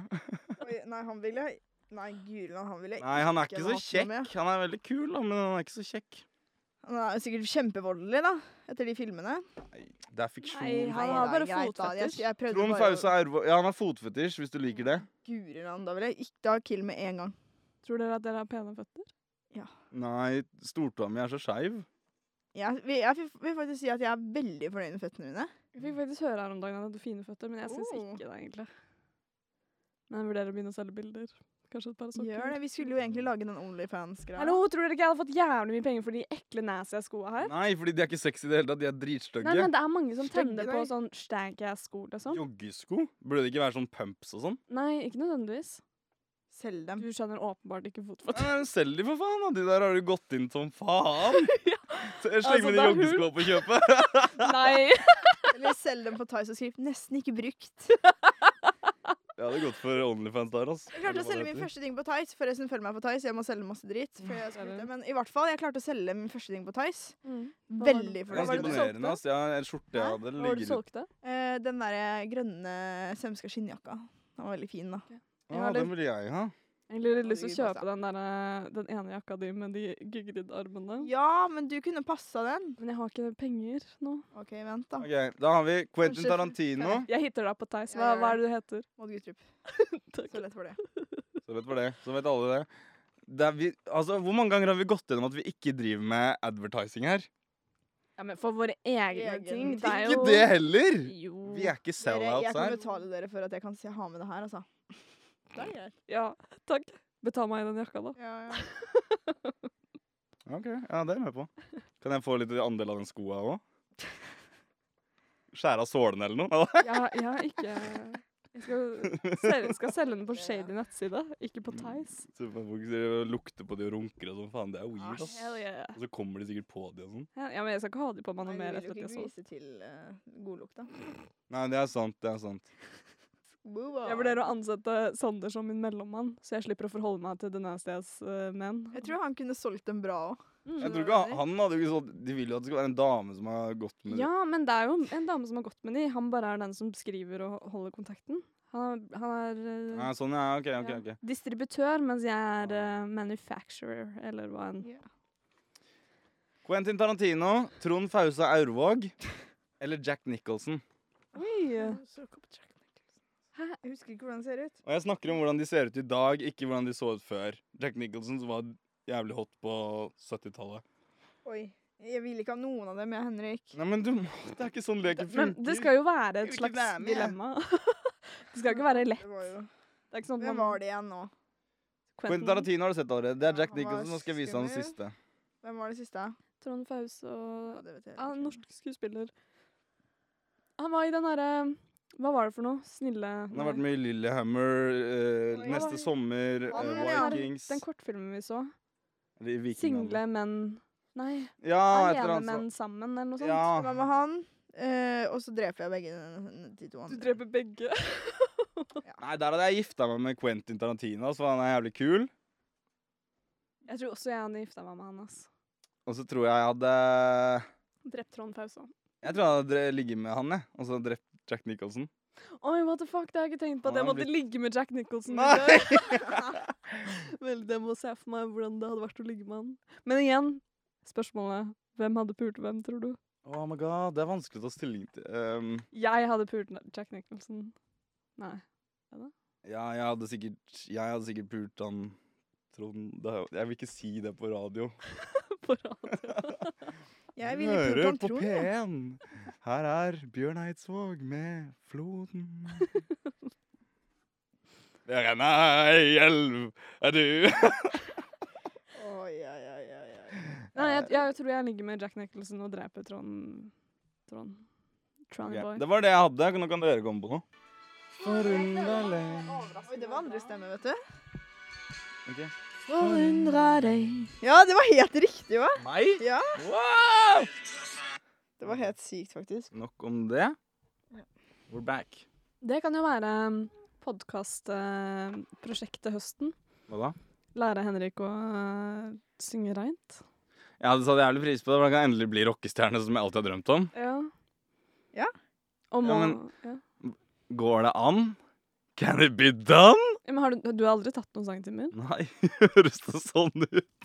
C: Oi, Nei, han ville Nei, Gulan, han ville
B: Nei, han er
C: Ikke
B: ikke så
C: hatt noe med.
B: kjekk. Han er veldig kul, da, men han er ikke så kjekk.
C: Han er sikkert kjempevoldelig, da, etter de filmene.
B: Det er
A: Nei,
B: fiksjon.
A: han
C: Nei,
A: har
C: da,
A: bare
C: greit da. Jeg-
A: fotfetisj.
C: Jeg prøvde
B: Trond
C: bare å-
B: Fause Aurvåg Ja, han har fotfetisj, hvis du liker det.
C: Gulan, da vil jeg ikke ha kill med en gang.
A: Tror dere at dere har pene føtter?
B: Nei, stortåa mi er så skeiv.
C: Jeg, vil- jeg vil faktisk si at jeg er veldig fornøyd med føttene mine.
A: Jeg fikk faktisk høre her om dagen at jeg hadde fine føtter, men jeg syns
C: Oh.
A: ikke det, egentlig. Men jeg vurderer å begynne å selge bilder. Kanskje et par
C: Gjør det.
A: sokker.
C: Vi skulle jo egentlig lage den Onlyfans-greia.
A: Hallo, tror dere ikke jeg hadde fått jævlig mye penger for de ekle nazi-skoa her?
B: Nei, fordi de er ikke sexy i det hele tatt. De er
A: Nei,
B: dritstygge.
A: men det er mange som
C: Stygge,
A: tenner
C: nei.
A: på sånn stank ass-sko, liksom.
B: Joggesko? Burde det ikke være sånn pumps og sånn?
A: Nei, ikke nødvendigvis.
C: Selg dem.
A: Du skjønner åpenbart ikke fotfot.
B: Eh, Selg de, for faen. da. De der har du gått inn som faen. Så jeg
A: Altså,
B: Sleng med
A: det
B: de
A: er hull.
B: joggeskoa på kjøpet.
A: Nei!
C: Eller selg dem på Thais og skriv 'nesten ikke brukt'.
B: Jeg hadde gått for Onlyfans der, ass.
C: Jeg
B: Eller hva
C: klarte å selge
B: det
C: min
B: heter.
C: første ting på Thais. Forresten, følg meg på Thais. Jeg må selge masse dritt. Før jeg skal
A: det er
C: slutte.
A: det.
C: Men i hvert fall, jeg klarte å selge min første ting på Thais.
A: Hva var det-
C: Veldig
B: Det er Ganske
A: Hva var det du
C: fornøyd.
A: solgte?
B: imponerende. ass. Jeg har en skjorte jeg
C: Hæ?
A: Hva
B: hadde.
A: var det du
B: ligger ut.
A: solgte?
C: Eh, Den derre grønne semska skinnjakka. Den var veldig fin, da.
A: Jeg
B: Ah,
A: har det-
B: den ville jeg ha.
A: Jeg har litt
C: Ja,
A: lyst til
C: det
A: å
C: gir
A: kjøpe den, der, eh, den ene jakka di med de gygrid-armene.
C: Ja, men du kunne passa den.
A: Men jeg har ikke penger nå.
C: OK, vent, da.
B: Ok, Da har vi Quentin
C: Kanskje-
B: Tarantino.
A: Jeg hitter deg på Theis.
C: Ja,
A: Hva,
C: gjør
A: hva er det du heter?
C: Maud Guttrup. Så
A: Takk.
C: lett for det.
B: Så vet, vi det. Så vet alle det. det er vi, altså, hvor mange ganger har vi gått gjennom at vi ikke driver med advertising her?
A: Ja, men for våre egne
C: Egen
A: ting. Det er
C: ting.
A: jo
B: Ikke det heller!
A: Jo.
B: Vi er ikke
C: Dere, jeg
B: sellouts
C: kan
B: her.
C: betale dere for at jeg kan si, ha med det her, altså. Det er greit.
A: Ja, takk. Betal meg den jakka, da.
C: Ja, ja.
B: Ok, ja, det er jeg med på. Kan jeg få litt andel av den skoa òg? Skjære av sålene eller noe?
A: Jeg, har- jeg har ikke Jeg skal, selge, skal selge den på shady nettside, ikke
B: Mm.
A: på Theis.
B: Så Folk sier- lukter på de og runker og sånn. Faen, det er weird, ass.
A: Ah, Hell yeah.
B: Og så kommer de sikkert på de og sånn.
A: Ja, men jeg skal ikke ha de på meg noe
C: Nei,
A: mer
C: du
A: etter
C: vil
A: at
C: jo
A: jeg
C: ikke
A: så
C: vise til eh, godlukta.
B: Nei, det er sant. Det er sant.
A: Jeg vurderer å ansette Sander som min mellommann, så jeg slipper å forholde meg til den eneste jeg uh, menn.
C: Jeg tror han kunne solgt dem bra òg.
B: Jeg tror ikke han, han hadde jo ikke sånn De vil jo at det skal være en dame som har gått med
A: Ja, men det er jo en dame som har gått med de. Han bare er den som skriver og holder kontakten. Han er, han er eh,
B: Nei, sånn, ja. Ok, ok.
A: ja,
B: ok.
A: distributør, mens jeg er eh, manufacturer, eller hva enn.
B: Quentin Tarantino, Trond Fausa Aurvåg eller Jack Nicholson.
A: Oi! Hæ?
C: Jeg husker ikke hvordan det ser ut.
B: Og jeg snakker om hvordan de ser ut i dag, ikke hvordan de så ut før. Jack Nicholson som var jævlig hot på 70-tallet.
C: Oi. Jeg vil ikke ha noen av dem, jeg, Henrik.
B: Nei, men du må Det er ikke sånn leken funker.
A: Men det skal jo være et
B: Jeg vil ikke
A: slags
B: være med, jeg.
A: dilemma. det skal ikke være lett.
C: Det var jo
A: Det er ikke sånn at
C: Hvem
A: man
C: var det igjen nå?
B: Quentin Tarantino har du sett allerede. Det
C: Ja,
B: er Jack
C: han var
B: Nicholson. Nå skal jeg vise han den
C: skummel.
B: siste.
C: Hvem var det siste?
A: Trond Fause
C: Ja,
A: og
C: det vet jeg
A: ja,
C: ikke.
A: Norsk skuespiller. Han var i den herre Hva var det for noe? Snille
B: Han har vært med i Lillehammer, eh,
C: Oi.
B: Neste sommer,
C: Han,
B: eh,
C: ja.
B: Vikings
A: Den kortfilmen vi så.
B: eller Vikingene.
A: Single menn Nei,
B: Ja, et eller
A: alene
B: annet
A: menn
B: sånt.
A: sammen, eller noe sånt.
C: Det
B: Ja.
C: var med han, eh, og så dreper jeg begge de to
A: Du
C: andre.
A: dreper begge.
B: Nei, der hadde jeg gifta meg med Quentin Tarantino, så han er jævlig kul.
A: Jeg tror også jeg hadde gifta meg med han. ass.
B: Og så tror jeg jeg hadde
A: Drept Trond Fause.
B: Jeg tror jeg hadde dre- ligget med han, jeg. Og så drept Jack Nicholson.
A: Oi, what the fuck, det har jeg ikke tenkt på.
B: Han
A: at Jeg
B: har
A: måtte
B: blitt-
A: ligge med Jack Nicholson.
B: Nei!
A: Vel, det må se for meg hvordan det hadde vært å ligge med han. Men igjen, spørsmålet hvem hadde pult hvem, tror du?
B: Oh my god, det er vanskelig å ta stilling til. Ehm,
A: Jeg hadde pult N- Jack Nicholson. Nei.
B: ja, jeg hadde sikkert Jeg hadde sikkert pult han Trond det, er jo- Jeg vil ikke si det på radio.
A: På rad.
C: Jeg ville pult
B: Hører
C: han
B: på
C: Trond, jeg.
B: P1! Her er Bjørn Eidsvåg med 'Floden'. Det renner ei elv, er du
C: Oi, oi, oi, oi, oi.
A: Nei, jeg, jeg tror jeg ligger med Jack Nicholson og dreper Trond Trond. Trond
B: Ok,
A: Boy.
B: Det var det jeg hadde. Nå kan dere komme på noe. Forunderlig
C: Oi, det var andre stemme, vet du.
B: Ok.
D: Forundra deg.
C: Ja, det var helt riktig, hva?
B: Meg?
C: Ja.
B: Wow!
C: Det var helt sykt, faktisk.
B: Nok om det. We're back.
A: Det kan jo være podkastprosjektet Høsten.
B: Hva da?
A: Lære Henrik å eh, synge reint.
B: Jeg hadde satt jævlig pris på det, for da kan jeg endelig bli rockestjerne som jeg alltid har drømt om.
A: Ja.
C: Ja.
A: Og
B: Ja,
A: må, ja,
B: men-
A: men, ja.
B: Går det an? Can it be done?
A: men har du, du har aldri tatt noen sangtimer?
B: Nei, høres det sånn ut?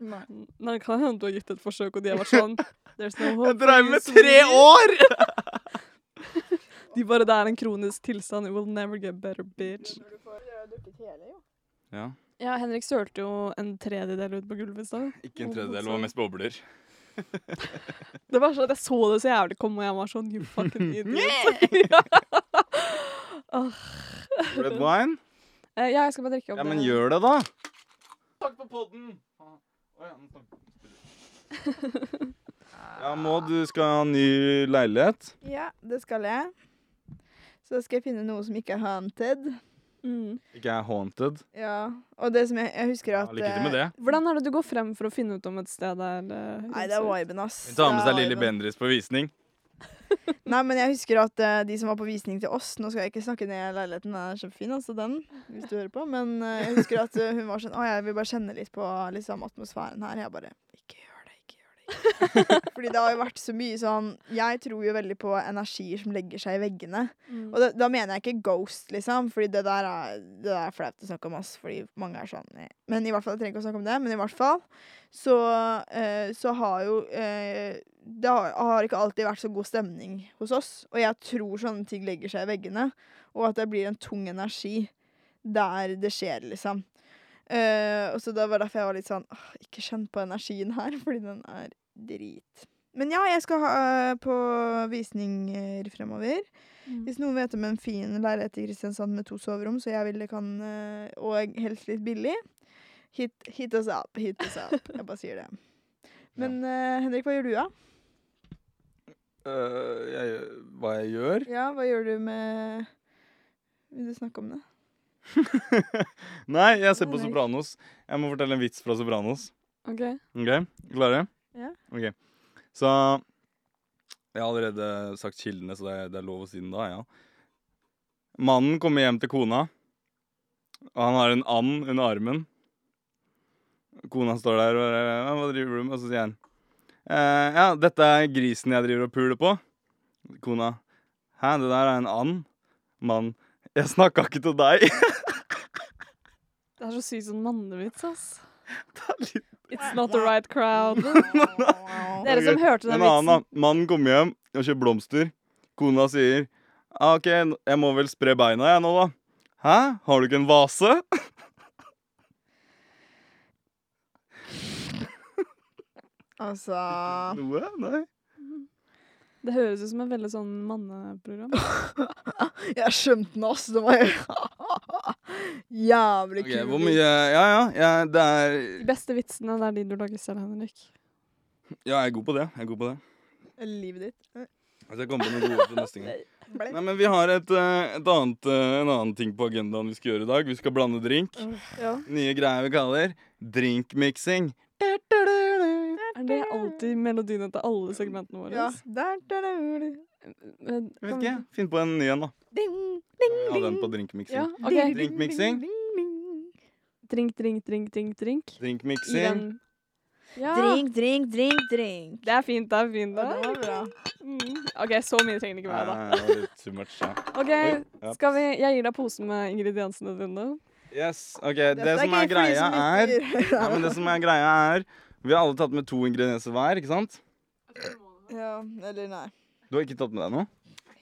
C: Nei.
A: Nei, det kan hende du har gitt et forsøk, og de har vært sånn There's no hope.
B: Jeg
A: for
B: drev
A: you,
B: med
A: sweetie."
B: tre år!
A: De bare Det er en kronisk tilstand. It will never get better, bitch.
C: Du får drukket hele, jo.
B: Ja,
A: Ja, Henrik sølte jo en tredjedel ut på gulvet i stad.
B: ikke en tredjedel, det var mest bobler.
A: Det var sånn at Jeg så det så jævlig komme, og jeg var sånn You fucking idiot. ja. Åh.
B: Red wine?
A: Eh, ja, jeg skal bare drikke opp
B: Ja, men
A: det.
B: gjør det, da. Takk på podden. Ja, Maud, du skal ha ny leilighet.
C: Ja, det skal jeg. Så skal jeg finne noe som ikke er haunted.
A: Mm.
B: Ikke jeg haunted?
C: Ja, og det som jeg, jeg husker at
B: Ja, lykke til med
C: eh,
B: det.
A: Hvordan er det du går frem for å finne ut om et sted er eh,
C: Nei, det er
A: ruset?
C: viben, ass.
B: Ta med
C: Det
B: seg
C: er
B: Lilly
C: viben.
B: Bendriss på visning.
C: Nei, men jeg husker at eh, de som var på visning til oss Nå skal jeg ikke snakke ned leiligheten, den er kjempefin, altså den, hvis du hører på. Men eh, jeg husker at eh, hun var sånn Å, jeg vil bare kjenne litt på liksom, atmosfæren her. Jeg bare Ikke gjør det, ikke gjør det. Ikke. gjør det." Fordi det har jo vært så mye sånn Jeg tror jo veldig på energier som legger seg i veggene.
A: Mm.
C: Og da, da mener jeg ikke ghost, liksom, Fordi det der er, det der er flaut å snakke om. Ass, fordi mange er sånn eh. Men i hvert fall, jeg trenger ikke å snakke om det, men i hvert fall så, eh, så har jo eh, Det har, har ikke alltid vært så god stemning hos oss. Og jeg tror sånne ting legger seg i veggene, og at det blir en tung energi der det skjer, liksom. Eh, og så da var det derfor jeg var litt sånn «Åh, Ikke kjenn på energien her, fordi den er drit. Men ja, jeg skal ha eh, på visninger fremover.
A: Mm.
C: Hvis noen vet om en fin leilighet i Kristiansand med to soverom, så jeg vil det kan eh, Og helst litt billig. Hit, hit us up, hit us up. Jeg bare sier det. Men eh, Henrik, hva gjør du, da?
B: Øh, jeg, hva jeg gjør?
C: Ja, hva gjør du med Vil du snakke om det?
B: Nei, jeg ser
C: Nei,
B: på
C: nei.
B: Sopranos. Jeg må fortelle en vits fra Sopranos.
A: Ok.
B: Ok, Klare?
C: Ja.
B: Ok. Så Jeg har allerede sagt kildene, så det er, det er lov å si den da, ja. Mannen kommer hjem til kona, og han har en and under armen. Kona står der og bare «Ja, 'Hva driver du med?' Og så sier han eh, 'Ja, dette er grisen jeg driver og puler på'. Kona 'Hæ, det der er en and'. Mann 'Jeg snakka ikke til deg'.
A: Det er så sykt sånn mannevits, ass.
B: Det er litt-
A: It's not the right crowd. Dere
B: Ok,
A: som hørte den
B: En annen,
A: vitsen.
B: da. Mannen kommer hjem og kjøper blomster. Kona sier ah, OK, jeg må vel spre beina jeg nå, da. Hæ? Har du ikke en vase?
C: Altså
B: Noe? Nei.
A: Det høres ut som et veldig sånn manneprogram.
C: Jeg skjønte den, ass. Det var jævlig
B: Ok,
C: kul.
B: hvor mye Ja, ja. Jeg, det er
A: De beste vitsene, det er de du lager selv, Henrik.
B: Ja, jeg er god på det. Jeg er god på det. Altså,
C: Livet ditt.
B: Jeg skal komme på noen gode til neste gang.
C: Ble-
B: Nei, men vi har et, eh, et annet, eh, en annen ting på agendaen vi skal gjøre i dag. Vi skal blande drink.
C: Ja.
B: Nye greier vi kaller drinkmiksing.
A: Er det alltid melodien til alle segmentene våre? Eh,
C: Ja. Der, der, der.
A: Men-
B: Jeg vet ikke. Finn på en ny en, da.
C: Ding,
B: Jeg hadde en på drinkmiksing.
A: Ja, ok.
B: Drinkmiksing.
A: Drink, drink, drink, drink, drink. I
B: Drinkmiksing.
A: den. Ja.
D: Drink, drink, drink, drink.
A: Det er fint, det er fint.
C: Ah. Ja, det
A: Det.
C: var bra.
A: Mm. OK, så mye trenger det ikke være, da.
B: Ja, det var litt too much, ja. Eh, Oi,
A: OK,
B: ja.
A: skal vi Jeg gir deg posen med ingrediensene dine.
B: Yes, ok, det som er
C: gøy for de
B: greia
C: som
B: er
C: lytter.
B: ja, men det som er greia er Vi har alle tatt med to ingredienser hver, ikke sant?
C: Ja, eller nei.
B: Du har ikke tatt med deg noe?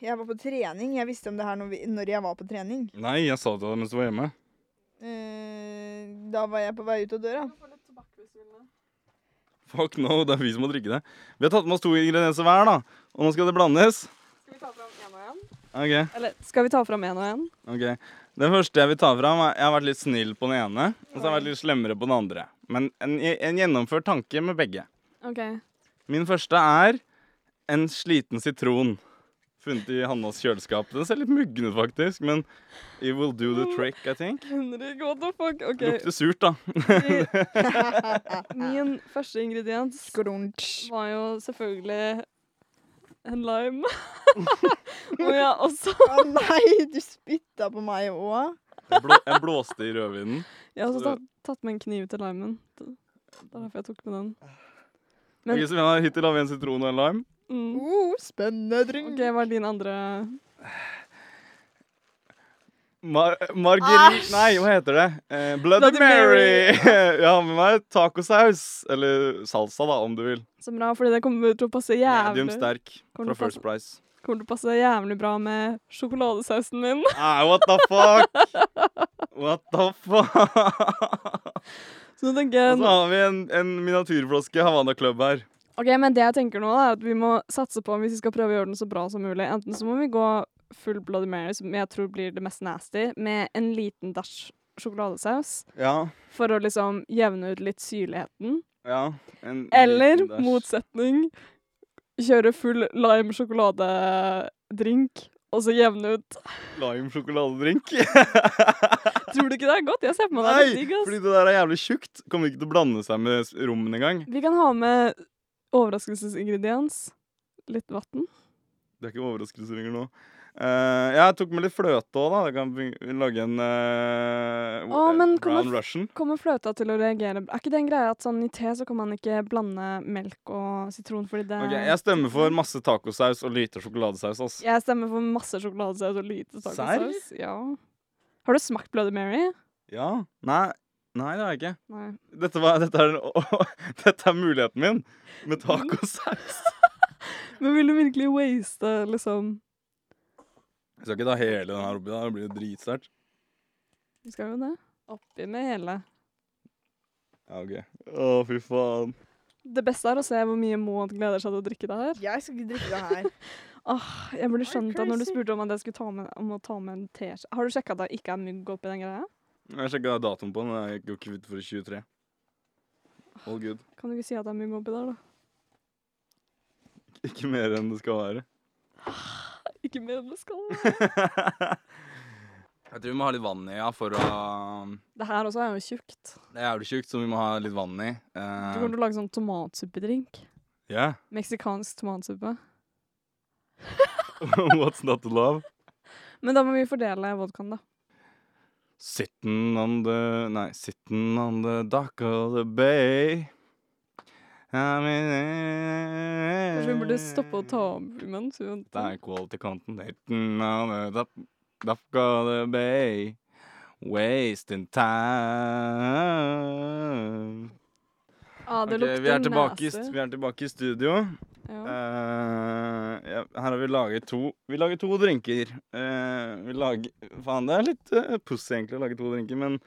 C: Jeg var på trening. Jeg visste om det her når, vi, når jeg var på trening.
B: Nei, jeg sa det til deg mens du var hjemme.
C: Eh, da var jeg på vei ut av døra.
B: Fuck no, det er vi som må drikke det. Vi har tatt med oss to ingredienser hver, da. Og nå skal det blandes.
A: Skal vi ta fram én og én?
B: Ok,
A: Eller skal vi ta fram én og én?
B: ok. Den første jeg vil ta fram, er jeg har vært litt snill på den ene. Og så har jeg vært litt slemmere på den andre. Men en, en gjennomført tanke med begge.
A: OK.
B: Min første er en sliten sitron. Funnet i Hannas kjøleskap. Den ser litt muggen ut, faktisk, men it will do the trick, I think.
A: Henrik, what the fuck? OK.
B: Lukter surt, da.
A: Min første ingrediens
C: Grunch.
A: var jo selvfølgelig en lime. Og jeg også
C: Å nei, du spytta på meg òg.
B: Jeg, blå, jeg blåste i rødvinen.
A: Jeg har også
B: Så-
A: tatt, tatt med en kniv til limen. Det det er derfor jeg tok med den. Men-
B: Ok, så vi har hittil har vi en sitron og en lime.
A: Mm.
C: Oh, spennende drink.
A: OK, hva er din andre
B: Mar margeri...
C: Æsj!
B: Nei, hva heter det? Eh, Bloody,
A: Bloody
B: Mary! jeg har med meg tacosaus. Eller salsa, da, om du vil.
A: Så bra, fordi det kommer til å passe jævlig
B: Medium sterk
A: Kommer
B: fra
A: det
B: First
A: passe-
B: Price.
A: Kommer til å passe jævlig bra med sjokoladesausen min.
B: Nei, what the fuck? What the fuck?
A: Så nå tenker jeg
B: Og så har vi en, en miniatyrflaske Havana Club her.
A: Ok, men det jeg tenker nå er at vi må satse på hvis vi skal prøve å gjøre den så bra som mulig. Enten så må vi gå full Bloody Mary, som jeg tror blir det mest nasty, med en liten dash sjokoladesaus
B: Ja,
A: for å liksom jevne ut litt syrligheten.
B: ja. En
A: Eller
B: liten dash.
A: motsetning, kjøre full lime sjokoladedrink og så jevne ut.
B: Lime sjokoladedrink.
A: Tror du ikke det er godt? Jeg ser på meg det er litt
B: Nei,
A: digg. ass.
B: fordi det der er jævlig tjukt. Kommer ikke til å blande seg med s- rommen engang.
A: Vi kan ha med overraskelsesingrediens. Litt vann.
B: Det er ikke overraskelser lenger nå. Eh, jeg tok med litt fløte òg, da. Jeg kan vi- lage en eh,
A: Å,
B: eh,
A: men kommer f-
B: brown russian.
A: Kommer fløta til å reagere? Er ikke det en greie at sånn i te så kan man ikke blande melk og sitron fordi det
B: Ok, Jeg stemmer for masse tacosaus og lite sjokoladesaus. ass.
A: Jeg stemmer for masse sjokoladesaus og lite tacosaus. Ja. Har du smakt Bloody Mary?
B: Ja. Nei, nei det har jeg ikke.
A: Nei.
B: Dette, var, dette, er, dette er muligheten min med tacosaus.
A: Men vil du virkelig waste liksom
B: Jeg skal ikke ta hele den her oppi, da. Det blir jo dritsterkt.
A: Vi skal jo det. Oppi med hele.
B: Ja, ok. Å, fy faen.
A: Det beste er å se hvor mye Maud gleder seg til å drikke det her.
C: Jeg skal ikke drikke det her.
A: Åh, jeg burde
C: you
A: skjønt det når du
C: crazy?
A: spurte om at jeg skulle ta med, om å ta med en teskje. Har du sjekka at det ikke er mugg oppi den greia?
B: Jeg sjekka datoen på den. og Jeg går ikke ut for 23. All good.
A: Kan du ikke si at det er mugg oppi der, da?
B: Ikke mer enn det skal være.
A: Ikke mer enn det skal.
B: Jeg tror vi må ha litt vann i, ja, for å
A: Det her også er jo tjukt.
B: Det er jævlig tjukt, så vi må ha litt vann i.
A: Du
B: Eh,
A: kommer til å lage sånn tomatsuppedrink.
B: yeah.
A: Meksikansk tomatsuppe.
B: What's not to love?
A: Men da må vi fordele vodkaen, da.
B: Sitting on the Nei, sitting on the dock of the bay. Kanskje
A: Kanskje vi burde stoppe å ta
B: Eh,
A: opp imens vi
B: Det
A: venter.
B: er quality content hitting on the top, top of the bay. Wasting time.
A: Ah, det
B: Ok, vi, er
A: lukter
B: tilbake i, st-
A: nese.
B: vi er tilbake i studio.
A: Ja.
B: Eh, ja, her har vi laget to Vi lager to drinker. Eh, vi lager Faen, det er litt uh, pussig egentlig å lage to drinker, men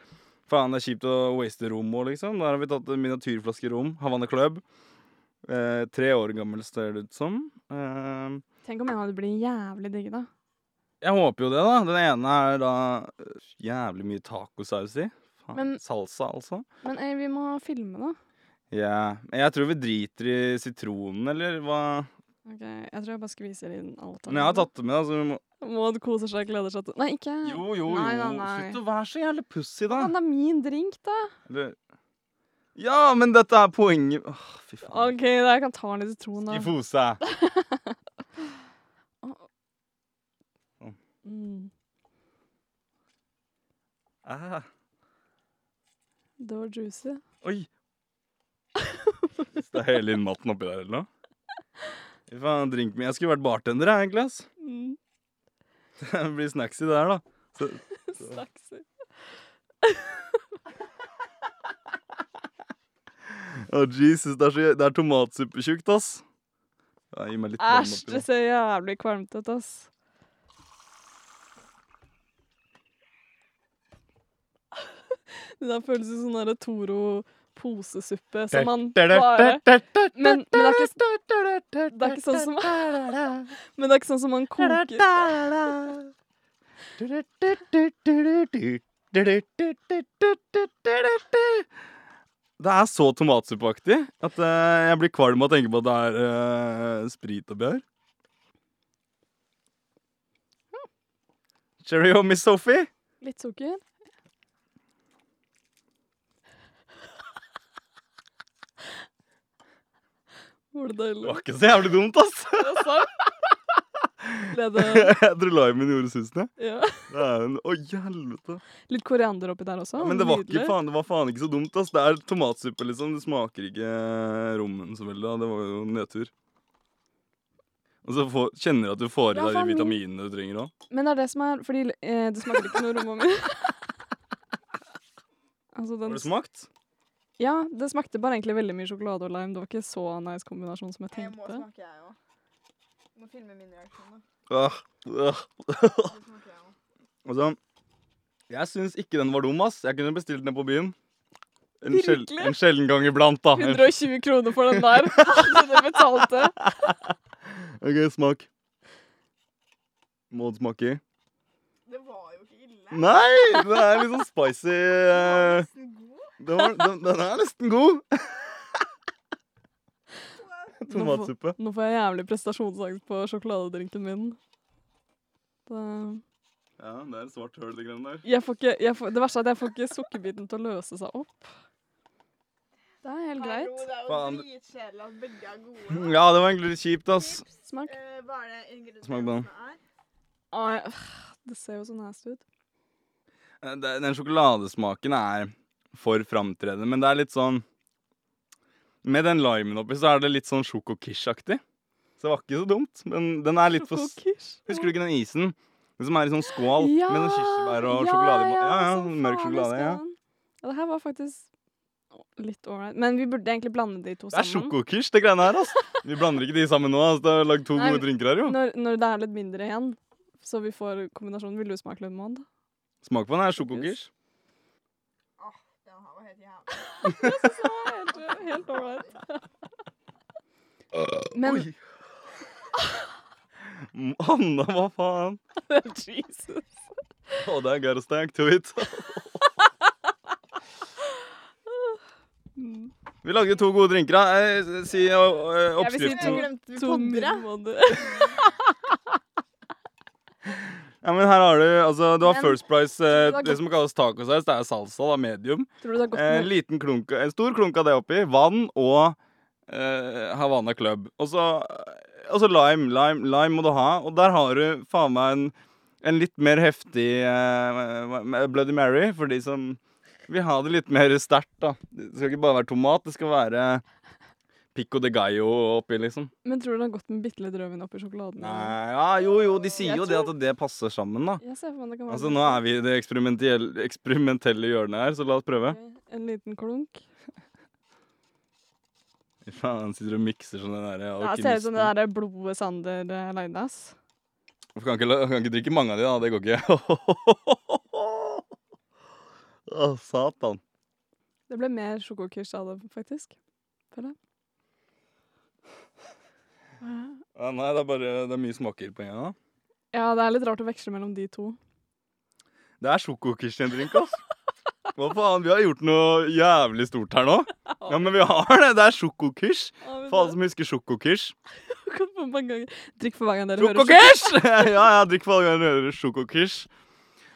B: faen, det er kjipt å waste rom òg, liksom. Der har vi tatt en miniatyrflaske rom. Havanna Club. Eh, tre år gammel, ser det ut som. Eh,
A: Tenk om en av dem blir jævlig digge, da.
B: Jeg håper jo det, da. Den ene er da øh, jævlig mye tacosaus i. Faen,
A: Men-
B: salsa, altså.
A: Men eh, vi må filme, da.
B: Ja. Men jeg tror vi driter i sitronen, eller hva
A: Ok, Jeg tror jeg bare skviser inn alt. av
B: Men jeg har
A: det.
B: tatt det med, da. Så vi må...
A: Maud koser seg, gleder seg til Nei, ikke
B: Jo, jo, jo.
A: Nei, nei, nei.
B: Slutt å være så jævlig pussig, da.
A: Faen, det er min drink, da.
B: Eller... Ja, men dette er poenget Åh, Fy faen.
A: OK, da, jeg kan ta den i sitronen. da.
B: Skifose.
A: Mm,
B: Ah,
A: det var juicy.
B: oi. Hvis det er hele innmaten oppi der, eller noe. Fy faen, drink me. Jeg skulle vært bartender, jeg, egentlig. ass.
A: Mm,
B: Det blir snacks i det her, da. Så
A: Snackser.
B: Å, Jesus, det er, så, det er tomatsuppetjukt, ass. Ja, gi meg litt vann
A: Æsj,
B: oppi
A: det
B: det.
A: ser jævlig kvalmt ut, ass. Det der føles som sånn derre Toro-posesuppe som man bare Men, men det, er ikke, det er ikke sånn som Men det er ikke sånn som man koker
B: Det er så tomatsuppeaktig at eh, jeg blir kvalm av å tenke på at det er eh, sprit oppi her. Cheerio, Miss Sophie.
A: Litt sukker. Var det
B: Det
A: deilig?
B: var ikke så jævlig dumt, ass.
A: Det er sant. Ble det
B: Jeg tror limen gjorde susen, jeg.
A: ja.
B: Det er en, å, helvete.
A: Litt koriander oppi der også.
B: Ja, men det var, ikke,
A: nydelig.
B: faen, det var faen ikke så dumt, ass. Det er tomatsuppe, liksom. Det smaker ikke rommen så veldig, da. Det var jo en nedtur. Og så får, kjenner du at du får i
A: Ja,
B: deg de
A: faen, min-
B: vitaminene du trenger òg.
A: Men det er det som er Fordi eh, det smaker ikke noe romma mi. altså,
B: Har
A: den,
B: du smakt?
A: ja, det smakte bare egentlig veldig mye sjokolade og lime. Det var ikke så nice kombinasjon som jeg
C: Jeg må
A: tenkte.
C: smake, jeg òg. Må filme min reaksjon, da.
B: Øh, øh.
C: Det smaker jeg også.
B: Altså, jeg syns ikke den var dum, ass. Jeg kunne bestilt den på byen. En, sjel,
A: Virkelig?
B: en sjelden gang iblant, da.
A: 120 kroner for den der. som Dere betalte.
B: OK, smak. Må det smake?
C: Det var jo ikke ille.
B: Nei! Det er litt sånn spicy.
C: Den var
B: eh, Den, var,
C: nesten god.
B: den, den er nesten god. Tomatsuppe.
A: Nå får jeg jævlig prestasjonsangst på sjokoladedrinken min. Det-
B: Ja, det er et svart høl, det greiene der.
A: Jeg får ikke, jeg får, det verste er at jeg får ikke sukkerbiten til å løse seg opp. Det er helt
C: Hallo,
A: greit.
C: det er jo
B: Faen.
C: dritkjedelig at begge er gode.
B: Ja, det var egentlig litt kjipt, ass.
A: Smak.
C: Eh, hva er det
B: Smak på den.
C: ingrediensene er?
A: Ai, øh, det ser jo så nasty ut.
B: Eh, det- Den sjokoladesmaken er for framtredende, men det er litt sånn Med den limen oppi, så er det litt sånn sjokokish-aktig. Så det var ikke så dumt, men den er litt for s-
A: Sjokokish.
B: Husker du ikke den isen? Den som er i sånn skål med noen kirsebær og sjokolade i bånn? Ja, liksom. ja,
A: sånn
B: mørk
A: farlig
B: sjokolade. ja.
A: sånn. Ja, det her var faktisk litt ålreit. Men vi burde egentlig blande de to
B: Det er
A: sammen.
B: sjokokish, det greiene her, ass. Vi blander ikke de sammen nå, ass. Det er lagd to
A: Nei,
B: gode drinker her, jo.
A: Når, når det er litt mindre igjen, så vi får kombinasjonen. Vil du smake lemon?
B: Smak på den her, sjokokish.
C: Den her var helt jævlig.
A: Det var helt- helt ålreit. Men
B: Oi. Anna, hva faen?
A: Jesus.
B: Oh, that got a stack to it.
A: Mm.
B: Vi lagde to gode drinker, da. Eh, Si eh,
A: vil si
B: oppskriften.
C: Jeg glemte vi podder, jeg.
A: måneder.
B: Ja, men her har du altså, Du har
A: Men-
B: First Price, eh,
A: det var
B: det som kalles tacosaus. Det er salsa, da, medium.
A: Tror du det er godt
B: En
A: nok?
B: Eh, liten klunk, en stor klunk av det oppi. Vann og eh, Havana Club. Og så og så lime. Lime lime må du ha. Og der har du faen meg en, en litt mer heftig eh, Bloody Mary for de som vil ha det litt mer sterkt, da. Det skal ikke bare være tomat, det skal være pico de gallo oppi, liksom.
A: Men tror du det er godt med bitte litt rødvin oppi sjokoladen?
B: Nei, ja, jo, jo, de sier
A: Jeg
B: jo det at det passer sammen, da.
A: Jeg ser for meg det kan være
B: Altså, nå er vi i det eksperimentelle, eksperimentelle hjørnet her, så la oss prøve.
A: En liten klunk.
B: Fy Faen, han sitter og mikser som den derre
A: Ja, det ser ut som det der blodet Sander eh, lagde, ass.
B: Hvorfor kan ikke, la- kan ikke drikke mange av de, da? Det går ikke. Å, satan.
A: Det ble mer sjokokurs av det, faktisk. Føler jeg.
B: Ja, nei, det er bare det er mye smaker på en gang. da.
A: Ja, det er litt rart å veksle mellom de to.
B: Det er sjokokirstendrink, ass. Hva faen, vi har gjort noe jævlig stort her nå. Ja, men vi har det. Det er sjokokirs. Faen som husker sjokokirs.
A: For mange ganger. Drikk for hver gang dere hører sjokokurs.
B: Sjokokirs! ja, ja, drikk for alle ganger du hører sjokokirs.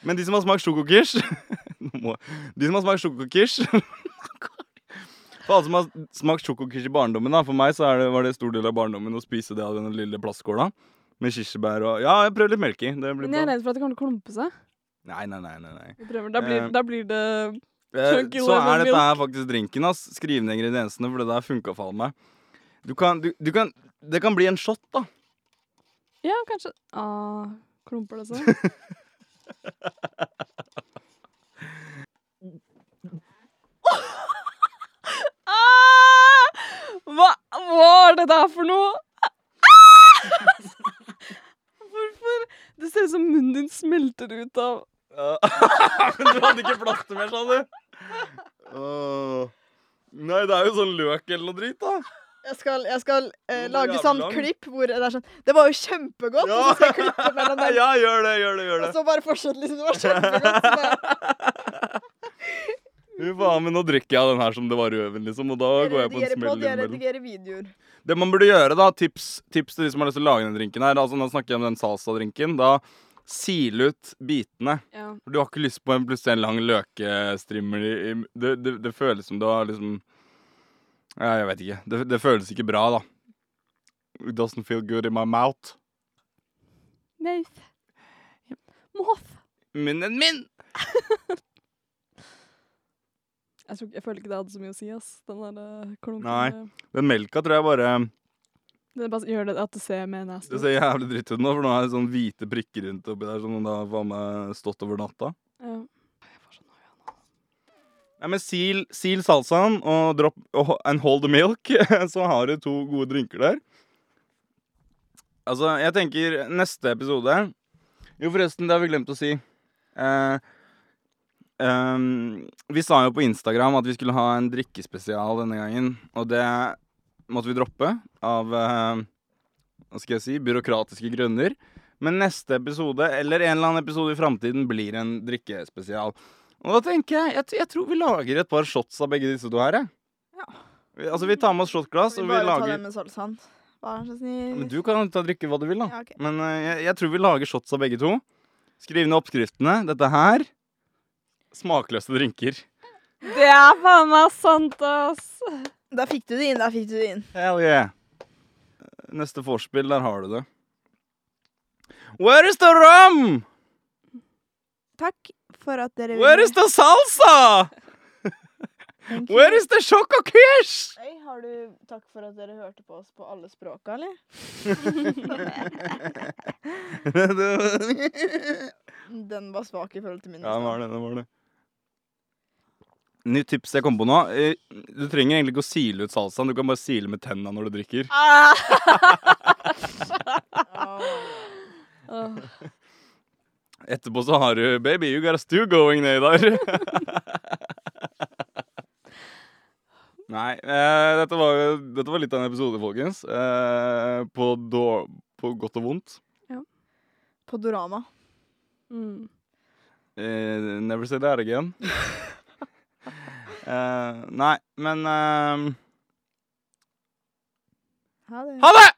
B: Men de som har smakt sjokokirs Nå må jeg- De som har smakt sjokokirs For alle som har smakt sjokokirs i barndommen, da. For meg så er det, var det en stor del av barndommen å spise det av den lille plastkåla. Med kirsebær og Ja, jeg prøvde litt melk i. Det blir
A: Men jeg er
B: bra.
A: redd for at det kommer til å klumpe seg.
B: Nei, nei, nei. nei, nei.
A: Vi prøver. Da blir,
B: Eh.
A: da blir det
B: Eh,
A: Chunky
B: Så
A: lemon
B: er dette her faktisk drinken, ass. Skriv ned ingrediensene, for det der funka faen meg. Du kan, du, du kan Det kan bli en shot, da.
A: Ja, kanskje ah, Klumper det seg? ah! Hva var det der for noe? Ah! Hvorfor? Det ser ut som munnen din smelter ut av
B: Ja. Eh, Men du hadde ikke plass til mer, sa du? Åh. Nei, det er jo sånn løk eller noe dritt, da.
C: Jeg skal, jeg skal eh,
B: Den var
C: lage
B: jævlig
C: sånn
B: lang.
C: klipp hvor det er sånn Det var jo kjempegodt! Og så skal jeg klippe mellom
B: Nei,
C: dem.
B: ja, gjør det, gjør det, gjør
C: Og
B: det.
C: så bare fortsette liksom. Det var kjempegodt. Så bare,
B: Fy faen, men nå drikker jeg den her som det var røven, liksom, og da går jeg på en
C: redigere
B: smell
C: podd, jeg
B: innimellom.
C: redigerer videoer.
B: Det man burde gjøre, da, tips, tips til de som har lyst til å lage den drinken her, altså nå snakker jeg om den salsa-drinken, da sil ut bitene.
A: ja.
B: For du har ikke lyst på en plutselig en lang løkestrimmer i, i det, det, det føles som du har liksom Ja, jeg vet ikke. Det, det føles ikke bra, da. It doesn't feel good in my mouth.
A: Mouth. Mouth.
B: Munnen min!
A: Jeg, tror, ikke- jeg føler ikke det hadde så mye å si, ass. Den der eh, klumpen.
B: Nei.
A: eh,
B: Den melka tror jeg bare
A: Det bare gjør det at det ser mer nasty
B: Det
A: ut.
B: ser jævlig dritt ut nå, for nå er det sånn hvite prikker rundt oppi der som da faen meg stått over natta.
A: Ja.
B: Nei, men sil, sil salsaen og drop og, and hold the milk, så har du to gode drinker der. Altså, jeg tenker neste episode Jo, forresten, det har vi glemt å si. Eh, ehm, vi sa jo på Instagram at vi skulle ha en drikkespesial denne gangen, og det måtte vi droppe av eh, Hva skal jeg si byråkratiske grunner. Men neste episode, eller en eller annen episode i framtiden, blir en drikkespesial. Og da tenker jeg, jeg t- Jeg tror vi lager et par shots av begge disse to her, jeg.
C: Ja.
B: Vi- Altså, vi tar med oss shotglass,
C: Vi
B: og vi
C: bare tar
B: lager
C: den med salsaen. Vær så snill.
B: Men du kan ta drikke hva du vil, da.
C: Ja, ok.
B: Men eh, jeg, jeg tror vi lager shots av begge to. Skriv ned oppskriftene. Dette her Smakløse drinker.
A: Det er faen meg sant, ass!
C: Da fikk du det inn, da fikk du det inn.
B: Hell yeah. Neste vorspiel, der har du det. Where is the rum?
C: Takk for at dere
B: Where is the salsa?
C: Thank you.
B: Where is the choco kish?
C: Hei, har du Takk for at dere hørte på oss på alle språka, eller?
B: ja,
C: Den var svak i forhold til min.
B: det var det. det var det. Nytt tips jeg kom på nå. Eh, Du trenger egentlig ikke å sile ut salsaen. Du kan bare sile med tenna når du drikker.
A: Åh.
B: Etterpå så har du Baby, you got a stew going ned der. Nei, eh, dette, var, jo- dette var litt av en episode, folkens. Eh, på, då, på godt og vondt.
C: På Dorama.
A: Mm.
B: Eh, never say that again. eh, nei, men eh,
C: Ha det.
B: Ha det!